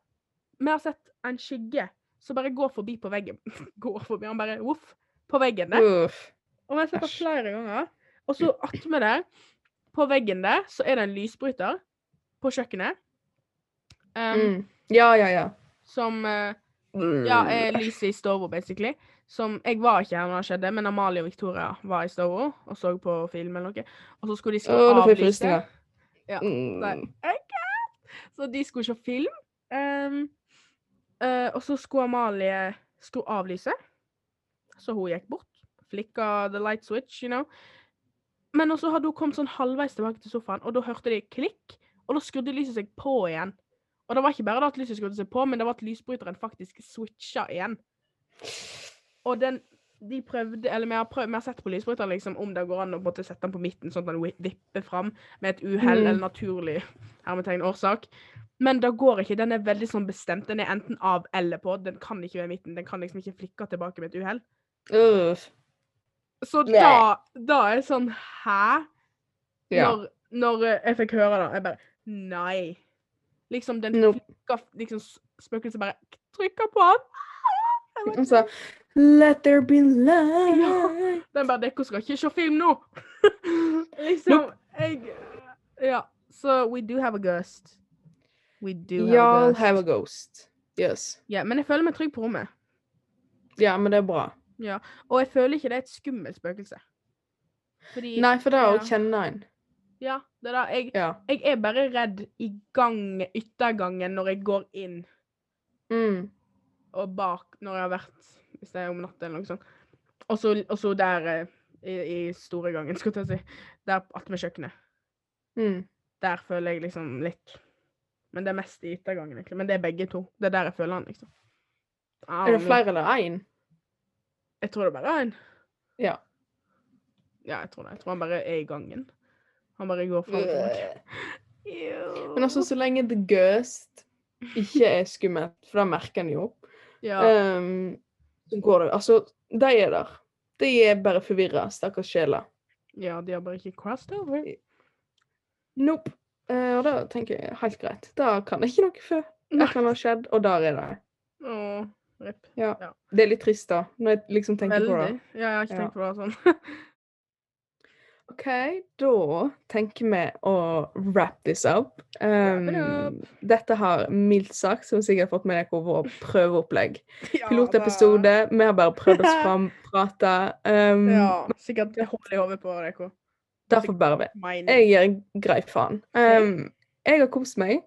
[SPEAKER 1] Vi har sett en skygge som bare går forbi på veggen. [LAUGHS] går forbi, han bare voff, på veggen der.
[SPEAKER 2] Uff.
[SPEAKER 1] Og vi har sett det
[SPEAKER 2] Æsj.
[SPEAKER 1] flere ganger. Og så attmed der, på veggen der, så er det en lysbryter på kjøkkenet. em,
[SPEAKER 2] Mm. Ja, ja, ja.
[SPEAKER 1] Som eh, Ja, eh, er
[SPEAKER 2] Mm.
[SPEAKER 1] lyset i stua, basically. Som Jeg var ikke her når det skjedde, men Amalie og Victoria var i stua og så på film eller noe. Og så skulle de
[SPEAKER 2] Å,
[SPEAKER 1] skru
[SPEAKER 2] nå
[SPEAKER 1] av
[SPEAKER 2] får jeg
[SPEAKER 1] lyset.
[SPEAKER 2] frysninger.
[SPEAKER 1] Ja,
[SPEAKER 2] Mm.
[SPEAKER 1] nei. Så de skulle se film. em, eh, og så skulle Amalie skru av lyset. Så hun gikk bort. Flikka the light switch, you know. Men også hadde hun kommet sånn halvveis tilbake til sofaen, og da hørte de klikk, og da skrudde lyset seg på igjen. Og det var ikke bare det at lyset skrudde seg på, men det var at lysbryteren faktisk switcha igjen. Og den de prøvde, eller vi har, prøvd, vi har sett på lysbryteren liksom, om det går an å på en måte sette den på midten, sånn at den wi- vipper fram med et uhell
[SPEAKER 2] Mm.
[SPEAKER 1] eller naturlig hermetegn årsak. Men det går ikke. Den er veldig sånn bestemt. Den er enten av eller på. Den kan ikke være i midten. Den kan liksom ikke flikke tilbake med et uhell.
[SPEAKER 2] Uff.
[SPEAKER 1] Så
[SPEAKER 2] Nei.
[SPEAKER 1] da, da er jeg sånn Hæ?
[SPEAKER 2] Ja.
[SPEAKER 1] Når, når eh, jeg fikk høre det, jeg bare Nei. Liksom, den
[SPEAKER 2] Nope.
[SPEAKER 1] flikka liksom, s- Spøkelset bare trykker på han. Jeg bare,
[SPEAKER 2] Og så Altså, Let there be light.
[SPEAKER 1] Den bare 'Dere skal ikke se film nå!' [LAUGHS] liksom. Jeg Ja. Så we do have a ghost. We do have a
[SPEAKER 2] Y'all
[SPEAKER 1] ghost.
[SPEAKER 2] have a ghost. Yes.
[SPEAKER 1] Ja, men jeg føler meg trygg på rommet.
[SPEAKER 2] Ja, men det er bra.
[SPEAKER 1] Og jeg føler ikke det er et skummelt spøkelse. Fordi
[SPEAKER 2] Nei, for det er å
[SPEAKER 1] Ja.
[SPEAKER 2] kjenne en.
[SPEAKER 1] Ja, det er da jeg,
[SPEAKER 2] Ja.
[SPEAKER 1] jeg er bare redd i gang, yttergangen når jeg går inn
[SPEAKER 2] Mm.
[SPEAKER 1] og bak når jeg har vært Hvis det er om natta eller noe sånt. Og så- Og så der eh, i, i store gangen, [LAUGHS] skulle jeg til å si. Der attmed kjøkkenet.
[SPEAKER 2] Mm.
[SPEAKER 1] Der føler jeg liksom litt Men det er mest i yttergangen, egentlig. Men det er begge to. Det er der jeg føler han, liksom.
[SPEAKER 2] Er det flere eller én?
[SPEAKER 1] Jeg tror det bare er en.
[SPEAKER 2] Ja.
[SPEAKER 1] Ja, jeg tror det. Jeg tror han bare er i gangen. Han bare går fram og tilbake.
[SPEAKER 2] Men altså, så lenge The Ghost ikke er skummelt, for da merker en jo,
[SPEAKER 1] ja.
[SPEAKER 2] ehm, så går det Altså, de er der. De er bare forvirra, stakkars sjeler.
[SPEAKER 1] ja, de har bare ikke crossed over.
[SPEAKER 2] Nope. Eh, og da tenker jeg helt greit. Da kan jeg ikke noe før. Det kan ha skjedd, og der er det.
[SPEAKER 1] Åh, rip.
[SPEAKER 2] Det er litt trist, da, når jeg liksom tenker på det.
[SPEAKER 1] Veldig. Ja, jeg har ikke
[SPEAKER 2] Ja.
[SPEAKER 1] tenkt på det sånn. [LAUGHS]
[SPEAKER 2] OK, da tenker vi å wrap this up. Ehm,
[SPEAKER 1] Wrap it
[SPEAKER 2] dette har mildt sagt, som sikkert fått med dere,
[SPEAKER 1] [LAUGHS]
[SPEAKER 2] vår prøveopplegg.
[SPEAKER 1] Ja,
[SPEAKER 2] Pilotepisode.
[SPEAKER 1] [LAUGHS]
[SPEAKER 2] Vi har bare prøvd oss fram, prata.
[SPEAKER 1] da.
[SPEAKER 2] ehm,
[SPEAKER 1] Ja, sikkert hold i hodet på dere.
[SPEAKER 2] Derfor bærer vi.
[SPEAKER 1] Mine.
[SPEAKER 2] Jeg gir grei faen. Um, jeg har kost meg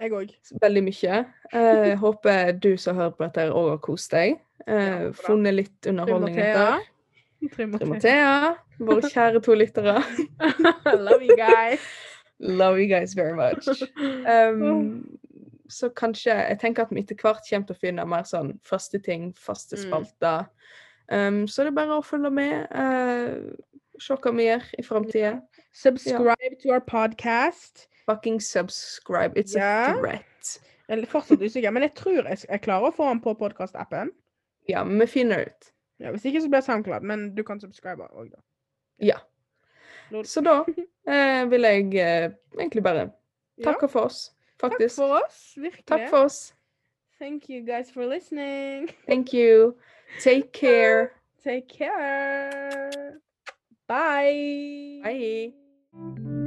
[SPEAKER 1] Jeg òg.
[SPEAKER 2] veldig mye.
[SPEAKER 1] [LAUGHS]
[SPEAKER 2] Eh, håper du som hører på dette, òg har kost deg. Eh,
[SPEAKER 1] Ja, bra.
[SPEAKER 2] funnet litt
[SPEAKER 1] Trym
[SPEAKER 2] underholdning.
[SPEAKER 1] Mathea.
[SPEAKER 2] etter.
[SPEAKER 1] Trym
[SPEAKER 2] Trym
[SPEAKER 1] Mathea.
[SPEAKER 2] Mathea, våre kjære to lyttere.
[SPEAKER 1] Love you [LAUGHS] guys.
[SPEAKER 2] Love you guys very much.
[SPEAKER 1] Oh.
[SPEAKER 2] Um, så kanskje Jeg tenker at vi etter hvert kommer til å finne mer sånn faste ting, faste
[SPEAKER 1] Mm.
[SPEAKER 2] spalter. Um, så det er bare å følge med. eh, se hva vi gjør i framtida.
[SPEAKER 1] Subscribe to our podcast.
[SPEAKER 2] Fucking subscribe. It's
[SPEAKER 1] Ja.
[SPEAKER 2] a threat.
[SPEAKER 1] Jeg er fortsatt usikker, men jeg tror jeg, jeg klarer å få den på podkastappen.
[SPEAKER 2] Ja, men vi finner ut.
[SPEAKER 1] Ja, hvis ikke så blir det SoundCloud, men du kan subscribe òg, da.
[SPEAKER 2] Ja.
[SPEAKER 1] Lol.
[SPEAKER 2] Så da eh, vil jeg eh, egentlig bare
[SPEAKER 1] Ja.
[SPEAKER 2] takke for oss,
[SPEAKER 1] Takk
[SPEAKER 2] faktisk.
[SPEAKER 1] for oss. Virkelig.
[SPEAKER 2] Takk for oss.
[SPEAKER 1] Thank you guys for listening.
[SPEAKER 2] Thank you. Take care.
[SPEAKER 1] Take care. Bye.
[SPEAKER 2] Bye.